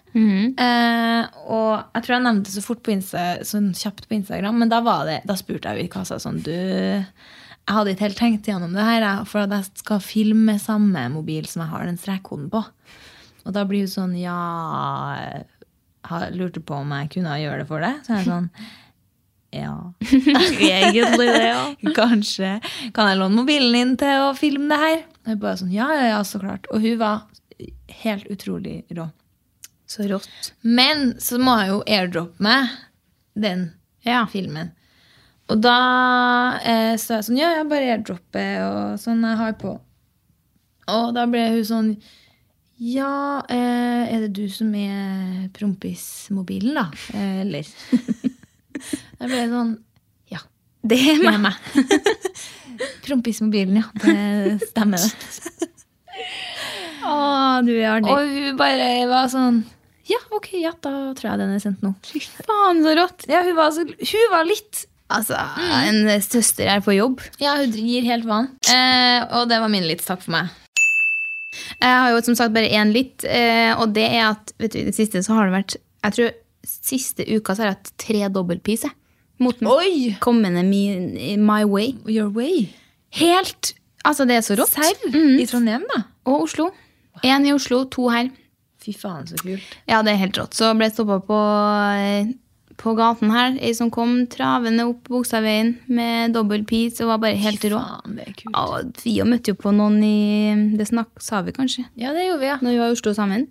Speaker 1: Eh, og jeg tror jeg nevnte det så fort på Insta, sånn kjapt på Instagram, men da, var det, da spurte jeg jo i kassa sånn Du, jeg hadde ikke helt tenkt gjennom det her, jeg, for at jeg skal filme med samme mobil som jeg har den strekkoden på. Og da blir hun sånn Ja, jeg har- lurte på om jeg kunne gjøre det for deg. Så er jeg sånn Ja.
Speaker 2: Egentlig det, ja.
Speaker 1: Kanskje kan jeg låne mobilen din til å filme det her? Og jeg bare sånn, ja, ja, ja, så klart. Og hun var helt utrolig rå.
Speaker 2: Så rått.
Speaker 1: Men så må jeg jo airdroppe meg den
Speaker 2: Ja.
Speaker 1: filmen. Og da eh, sa jeg sånn, ja, jeg bare airdropper og sånn jeg har på. Og da ble hun sånn, ja, eh, er det du som er prompis-mobilen da? Eh, Eller? da ble jeg sånn, ja.
Speaker 2: Det er
Speaker 1: Det
Speaker 2: meg.
Speaker 1: er meg. Prompismobilen, ja. Det stemmer, det.
Speaker 2: Å, du er artig.
Speaker 1: Og hun bare var sånn Ja, ok, ja, da tror jeg den er sendt nå.
Speaker 2: faen, så rått.
Speaker 1: Ja, hun var, så, hun var litt
Speaker 2: Altså, en søster er på jobb.
Speaker 1: Ja, hun gir helt vann. Eh, og det var min litt takk for meg.
Speaker 2: Jeg har jo som sagt bare én litt, eh, og det er at vet du, i det siste så har det vært Jeg tror siste uka så har jeg hatt tre dobbeltpis, jeg. Mot den
Speaker 1: Oi!
Speaker 2: kommende my, my way.
Speaker 1: Your way.
Speaker 2: Helt Altså, det er så rått.
Speaker 1: Serr? I Trondheim, da?
Speaker 2: Og Oslo. Én i Oslo, to her.
Speaker 1: Fy faen, så kult.
Speaker 2: Ja, det er helt rått. Så ble jeg stoppa på, eh, på gaten her, ei som kom travende opp Bogstadveien med dobbeltpis og var bare helt
Speaker 1: Fy
Speaker 2: rå.
Speaker 1: Faen, det er kult.
Speaker 2: Ja, og vi jo møtte jo på noen i Det snak, sa vi kanskje?
Speaker 1: Ja, det gjorde vi, ja.
Speaker 2: når vi var i Oslo sammen.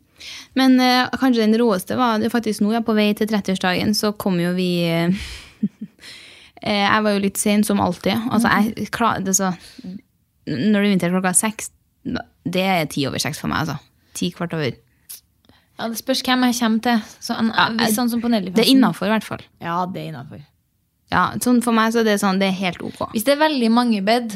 Speaker 2: Men eh, kanskje den råeste var det faktisk nå, ja, på vei til 30-årsdagen, så kom jo vi eh, eh, Jeg var jo litt sen, som alltid. Altså,
Speaker 1: Mhm.
Speaker 2: jeg klar, det, så, når det er vinter klokka seks, da- det er ti over seks for meg, altså. Ti kvart over.
Speaker 1: Ja, det spørs hvem jeg kommer til. Så en, hvis sånn som på Nellyfesten.
Speaker 2: Det er innafor, i hvert fall.
Speaker 1: Ja, det er innafor.
Speaker 2: Ja, sånn for meg så er det sånn, det er helt ok.
Speaker 1: Hvis det er veldig mange bed,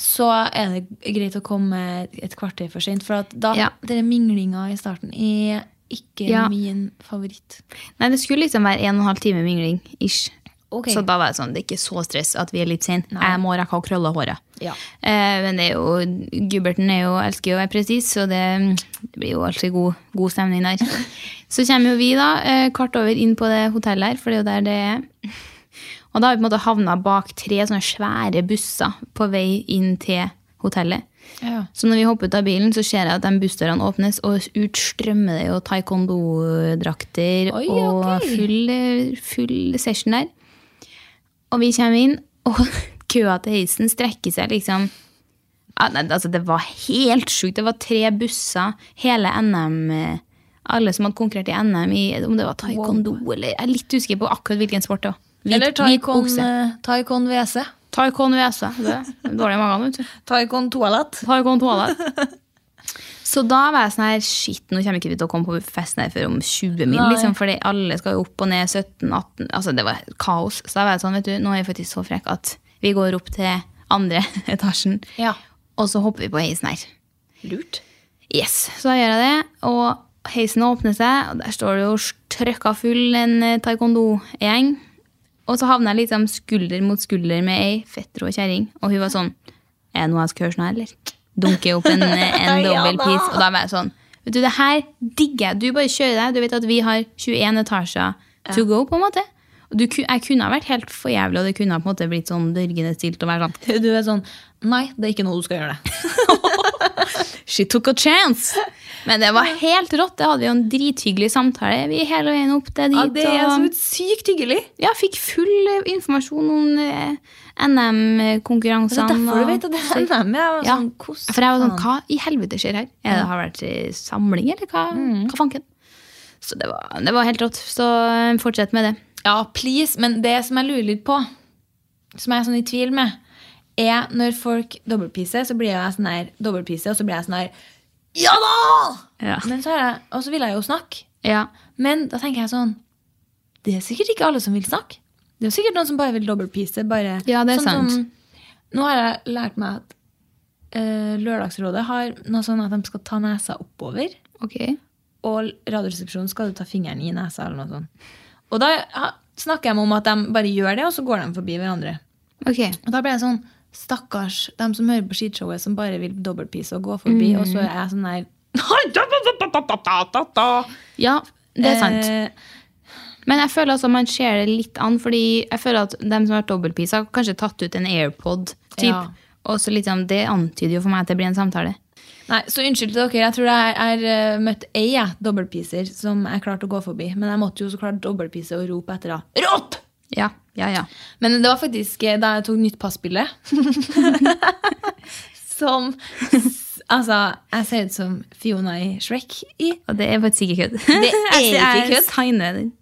Speaker 1: så er det greit å komme et kvarter for sent. For at da,
Speaker 2: Ja.
Speaker 1: denne minglinga i starten er ikke
Speaker 2: Ja.
Speaker 1: min favoritt.
Speaker 2: Nei, det skulle liksom være en og en halv time mingling, ish.
Speaker 1: Ok.
Speaker 2: Så da var det sånn, det er ikke så stress at vi er litt sene. Jeg må rekke å krølle håret.
Speaker 1: Ja.
Speaker 2: Eh, men det er jo, Gubberten er jo, elsker jo å være presis, så det, det blir jo alltid god, god stemning der. Så kommer jo vi da, eh, kvart over inn på det hotellet her, for det er jo der det er. Og da har vi på en måte havnet bak tre sånne svære busser på vei inn til hotellet.
Speaker 1: Ja.
Speaker 2: Så når vi hopper ut av bilen, så ser jeg at de bussdørene åpnes, og ut strømmer det jo taekwondo-drakter
Speaker 1: Oi,
Speaker 2: og
Speaker 1: ok.
Speaker 2: full, full session der. Og vi kommer inn, og køa til heisen strekker seg liksom ja, nei, altså Det var helt sjukt. Det var tre busser, hele NM eh, Alle som hadde konkurrert i NM i om det var taekwondo eller Jeg er litt usikker på akkurat hvilken sport det var. Hvit-
Speaker 1: Eller
Speaker 2: hvit
Speaker 1: Taikon,
Speaker 2: okse.
Speaker 1: taikon WC.
Speaker 2: Taekwondo VS. Det er dårlig i magen, vet du.
Speaker 1: Taikon toalett.
Speaker 2: Har kommet toalett. Så da var jeg sånn her, shit, nå kommer ikke vi til å komme på festen her før om 20 min,
Speaker 1: Nei.
Speaker 2: liksom, fordi alle skal jo opp og ned 17-18, altså det var kaos. Så da var jeg sånn, vet du, nå er jeg faktisk så frekk at vi går opp til andre etasjen,
Speaker 1: Ja.
Speaker 2: og så hopper vi på heisen her.
Speaker 1: Lurt.
Speaker 2: Yes, så da gjør jeg det, og heisen åpner seg, og der står det jo trøkka full en eh, taekwondo-gjeng. Og så havner jeg liksom skulder mot skulder med ei fetter og kjerring, og hun var sånn, er det noe jeg skal høre sånn her, eller? Dunker opp en, eh, en
Speaker 1: Ja
Speaker 2: double
Speaker 1: da.
Speaker 2: piece, og da var jeg sånn, vet du, det her digger jeg, du bare kjører deg, du vet at vi har 21 etasjer to go på en måte. Og Du, ku- jeg kunne ha vært helt for jævlig, og det kunne ha på en måte blitt sånn dørgende stilt og vært sånn,
Speaker 1: Du er sånn Nei, det er ikke noe du skal gjøre. det.
Speaker 2: She took a chance! Men det var helt rått. Det hadde jo en drithyggelig samtale. Vi hele veien opp til dit.
Speaker 1: Ja, det er
Speaker 2: og-
Speaker 1: så sykt hyggelig.
Speaker 2: ja, fikk full eh, informasjon om eh,
Speaker 1: Det er
Speaker 2: NM-konkurransene.
Speaker 1: derfor du
Speaker 2: og-
Speaker 1: vet at det er NM. Jeg var
Speaker 2: Ja,
Speaker 1: sånn, hvordan
Speaker 2: for jeg var sånn,
Speaker 1: faen?
Speaker 2: hva i helvete skjer her? Er det har det vært eh, samling, eller hva,
Speaker 1: Mm.
Speaker 2: hva fanken? Så det var, det var helt rått. Så eh, fortsett med det.
Speaker 1: Ja, please. Men det som jeg lurer litt på, som jeg er sånn i tvil med, er når folk dobbeltpiser, så blir jeg sånn her dobbeltpise, og så blir jeg sånn her Ja da!
Speaker 2: Ja.
Speaker 1: Men så har jeg, og så vil jeg jo snakke.
Speaker 2: ja.
Speaker 1: Men da tenker jeg sånn Det er sikkert ikke alle som vil snakke. Det er jo sikkert noen som bare vil dobbeltpise. Bare,
Speaker 2: Ja, det er
Speaker 1: sånn
Speaker 2: sant.
Speaker 1: som- nå har jeg lært meg at eh, Lørdagsrådet har noe sånn at de skal ta nesa oppover.
Speaker 2: Ok.
Speaker 1: Og radioresepsjonen skal du ta fingeren i nesa eller noe sånt. Og da ha- snakker de om at de bare gjør det, og så går de forbi hverandre.
Speaker 2: Ok.
Speaker 1: Og da ble jeg sånn Stakkars dem som hører på skishowet, som bare vil dobbeltpise og gå forbi. Og så er jeg sånn der
Speaker 2: Ja, det er sant.
Speaker 1: Eh,
Speaker 2: Men jeg føler altså man ser det litt an, fordi jeg føler at dem som har vært dobbeltpisa, har kanskje tatt ut en AirPod. Typ.
Speaker 1: Ja.
Speaker 2: Og så liksom, Det antyder jo for meg at det blir en samtale.
Speaker 1: nei, så unnskyld til dere. Jeg tror jeg har eh, møtt ei jeg, dobbeltpiser som jeg klarte å gå forbi. Men jeg måtte jo så klart dobbeltpise og rope etter henne. Rått!
Speaker 2: Ja, ja, ja.
Speaker 1: Men det var faktisk eh, da jeg tok nytt passbilde. som s- Altså, jeg ser ut som Fiona i Shrek. I.
Speaker 2: Og det er faktisk ikke kødd.
Speaker 1: Det er
Speaker 2: Jeg- jeg
Speaker 1: ikke kødd.
Speaker 2: signer den.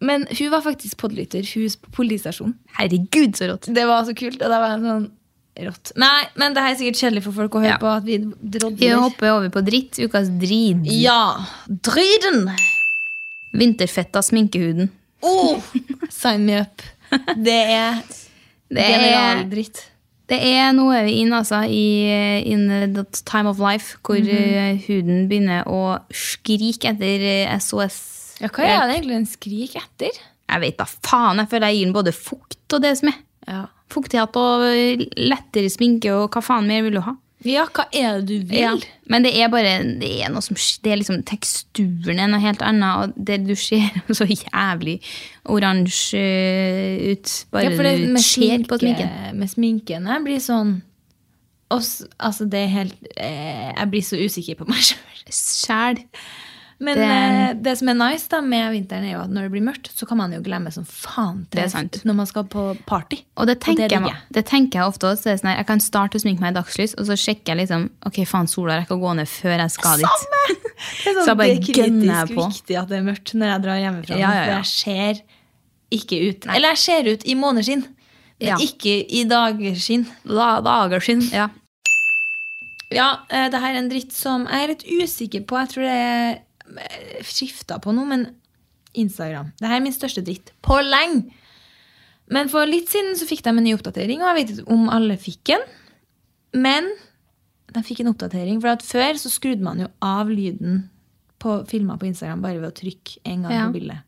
Speaker 1: Men hun var faktisk podlytter. Hun s- på politistasjonen.
Speaker 2: Herregud, så rått.
Speaker 1: Det var så kult. Og da var jeg sånn rått. Nei, men det her er sikkert kjedelig for folk å høre
Speaker 2: Ja.
Speaker 1: på at vi
Speaker 2: Vi
Speaker 1: drodler.
Speaker 2: hopper over på dritt. Ukas drit.
Speaker 1: Ja! Dryden!
Speaker 2: Vinterfetta sminkehuden.
Speaker 1: Oh, sign me up. Det er
Speaker 2: Det er-
Speaker 1: generaldritt.
Speaker 2: Det er nå er vi inn altså, i eh, in that time of life, hvor
Speaker 1: Mhm.
Speaker 2: eh, huden begynner å skrike etter eh, SOS.
Speaker 1: Ja, hva er det egentlig den skriker etter?
Speaker 2: Jeg vet da faen. Jeg føler jeg gir den både fukt og det som er.
Speaker 1: Ja.
Speaker 2: Fuktighet og lettere sminke og hva faen mer vil du ha?
Speaker 1: ja, hva er det du vil?
Speaker 2: Ja. Men det er bare det er noe som, det er liksom teksturen er noe helt annet, og det du ser er så jævlig oransje eh, ut. Bare
Speaker 1: Ja, for det
Speaker 2: du
Speaker 1: med,
Speaker 2: ser
Speaker 1: sminke,
Speaker 2: på sminken.
Speaker 1: med sminken Jeg blir sånn og s- Altså, det er helt eh, Jeg blir så usikker på meg sjøl.
Speaker 2: Sjæl.
Speaker 1: Men
Speaker 2: Det-
Speaker 1: det, eh, det som er nice da med vinteren, er jo at når det blir mørkt, så kan man jo glemme som faen til
Speaker 2: Det er sant.
Speaker 1: når man skal på party.
Speaker 2: Og det tenker,
Speaker 1: det liker
Speaker 2: jeg, det tenker jeg ofte også. så det er Sånn her, jeg kan starte å sminke meg i dagslys, og så sjekker jeg liksom Ok, faen, sola rekker å gå ned før jeg skal dit.
Speaker 1: Det er, sånn,
Speaker 2: Så jeg bare
Speaker 1: det er
Speaker 2: gønner jeg
Speaker 1: kritisk
Speaker 2: på.
Speaker 1: viktig at det er mørkt når jeg drar hjemmefra. nå,
Speaker 2: Ja, ja, ja.
Speaker 1: For jeg ser ikke ut. Eller jeg ser ut i måneskinn, men
Speaker 2: Ja.
Speaker 1: ikke i dagskinn.
Speaker 2: Da, dager siden. Ja.
Speaker 1: Ja, eh, det her er en dritt som jeg er litt usikker på. Jeg tror det er skifta på noe, men Instagram. Det her er min største dritt på lenge. Men for litt siden så fikk de en ny oppdatering, og jeg vet ikke om alle fikk den. Men de fikk en oppdatering, for at før så skrudde man jo av lyden på filmer på Instagram bare ved å trykke en gang
Speaker 2: Ja.
Speaker 1: på bildet.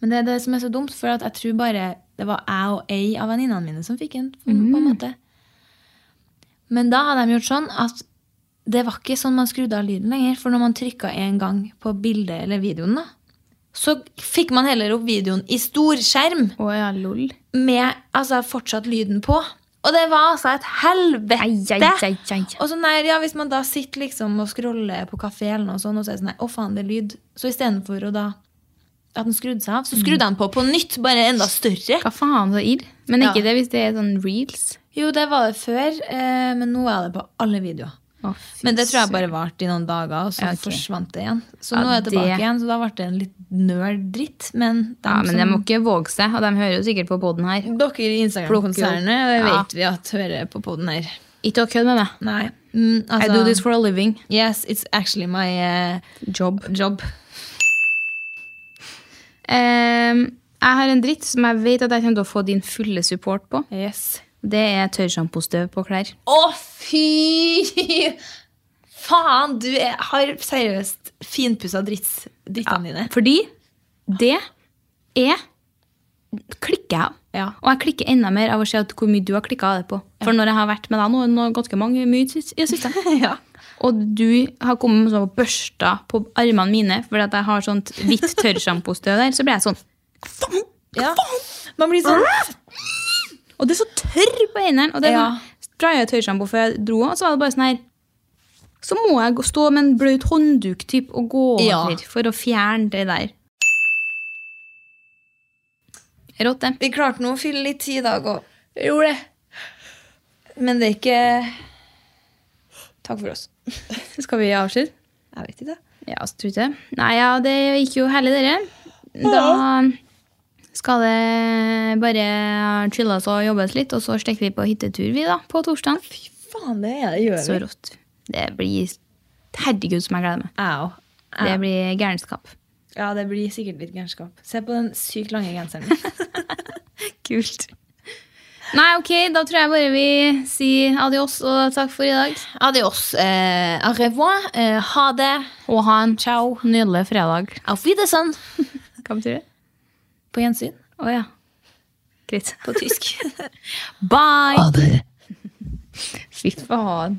Speaker 1: Men det er det som er så dumt, for at jeg tror bare det var jeg og ei av venninnene mine som fikk en. på en måte. Men da hadde de gjort sånn at det var ikke sånn man skrudde av lyden lenger. For når man trykka en gang på bildet eller videoen, da, så fikk man heller opp videoen i stor skjerm
Speaker 2: Å ja, lol.
Speaker 1: med altså, fortsatt lyden på. Og det var altså et helvete!
Speaker 2: Ai, ai, ai, ai.
Speaker 1: Og sånn der, ja, Hvis man da sitter liksom og scroller på kafé, eller noe sånn, og så er det sånn her, å faen, det er lyd. Så istedenfor å da at den skrudde seg av, så skrudde han på på nytt, bare enda større.
Speaker 2: Hva faen, så irr. Men
Speaker 1: Ja.
Speaker 2: ikke det hvis det er sånn reels.
Speaker 1: Jo, det var det før, eh, men nå er det på alle videoer.
Speaker 2: Å, fy
Speaker 1: Men det tror jeg bare varte i noen dager, og så
Speaker 2: Ja, ok.
Speaker 1: forsvant det igjen. Så
Speaker 2: Ja,
Speaker 1: nå er jeg tilbake
Speaker 2: det-
Speaker 1: igjen, så da ble det en litt nerd dritt. Men, dem
Speaker 2: Ja, men
Speaker 1: som-
Speaker 2: de må ikke våge seg, og de hører jo sikkert på poden her.
Speaker 1: dere i Instagram-konsernet det
Speaker 2: Ja.
Speaker 1: vet vi at hører på poden her.
Speaker 2: Ikke å kødde med meg.
Speaker 1: Nei. Mm, altså,
Speaker 2: I do this for a living.
Speaker 1: Yes, it's actually my eh,
Speaker 2: Job.
Speaker 1: job.
Speaker 2: Ehm, jeg har en dritt som jeg vet at jeg kommer til å få din fulle support på.
Speaker 1: Yes.
Speaker 2: Det er tørrsjampostøv på klær.
Speaker 1: Å, fy faen! Du er, har seriøst finpussa dritts, drittene dine.
Speaker 2: Fordi det er klikker jeg av.
Speaker 1: Ja.
Speaker 2: Og jeg klikker enda mer av å se at hvor mye du har klikka av det på. For når jeg har vært med deg nå, nå er det ganske mange mye sist- i det siste.
Speaker 1: ja.
Speaker 2: Og du har kommet med sånn børsta på armene mine fordi at jeg har sånt hvitt tørrsjampostøv der, så blir jeg sånn.
Speaker 1: ja. Man blir sånn
Speaker 2: Og det er så tørr på hendene! Og det er
Speaker 1: Ja.
Speaker 2: sånn, spraya tørrsjampo før jeg dro, og så var det bare sånn her Så må jeg gå- stå med en blaut håndduk typ, og gå
Speaker 1: Ja.
Speaker 2: over for å fjerne det der. Rått, det.
Speaker 1: Vi klarte nå å fylle litt tid i dag òg. Gjorde det. Men det er ikke Takk for oss.
Speaker 2: Skal vi avslutte?
Speaker 1: Jeg vet ikke.
Speaker 2: Ja, så tror jeg det. Nei, ja, det gikk jo herlig, dere. Da skal det bare chilles og jobbes litt, og så stikker vi på hyttetur, vi, da, på torsdag.
Speaker 1: Faen, det er det gjør
Speaker 2: Så rått. Det blir Herregud, som jeg gleder meg.
Speaker 1: Au.
Speaker 2: Det blir gærenskap.
Speaker 1: Ja, det blir sikkert litt gærenskap. Se på den sykt lange genseren min.
Speaker 2: Kult. Nei, ok, da tror jeg bare vi sier adios og takk for i dag.
Speaker 1: Adios. Eh, au revoir. Eh, ha det.
Speaker 2: Og ha en nydelig fredag.
Speaker 1: Auf Wiedersehen.
Speaker 2: Hva betyr det?
Speaker 1: På gjensyn.
Speaker 2: Å ja. Greit.
Speaker 1: På tysk.
Speaker 2: Bye! Fy faen.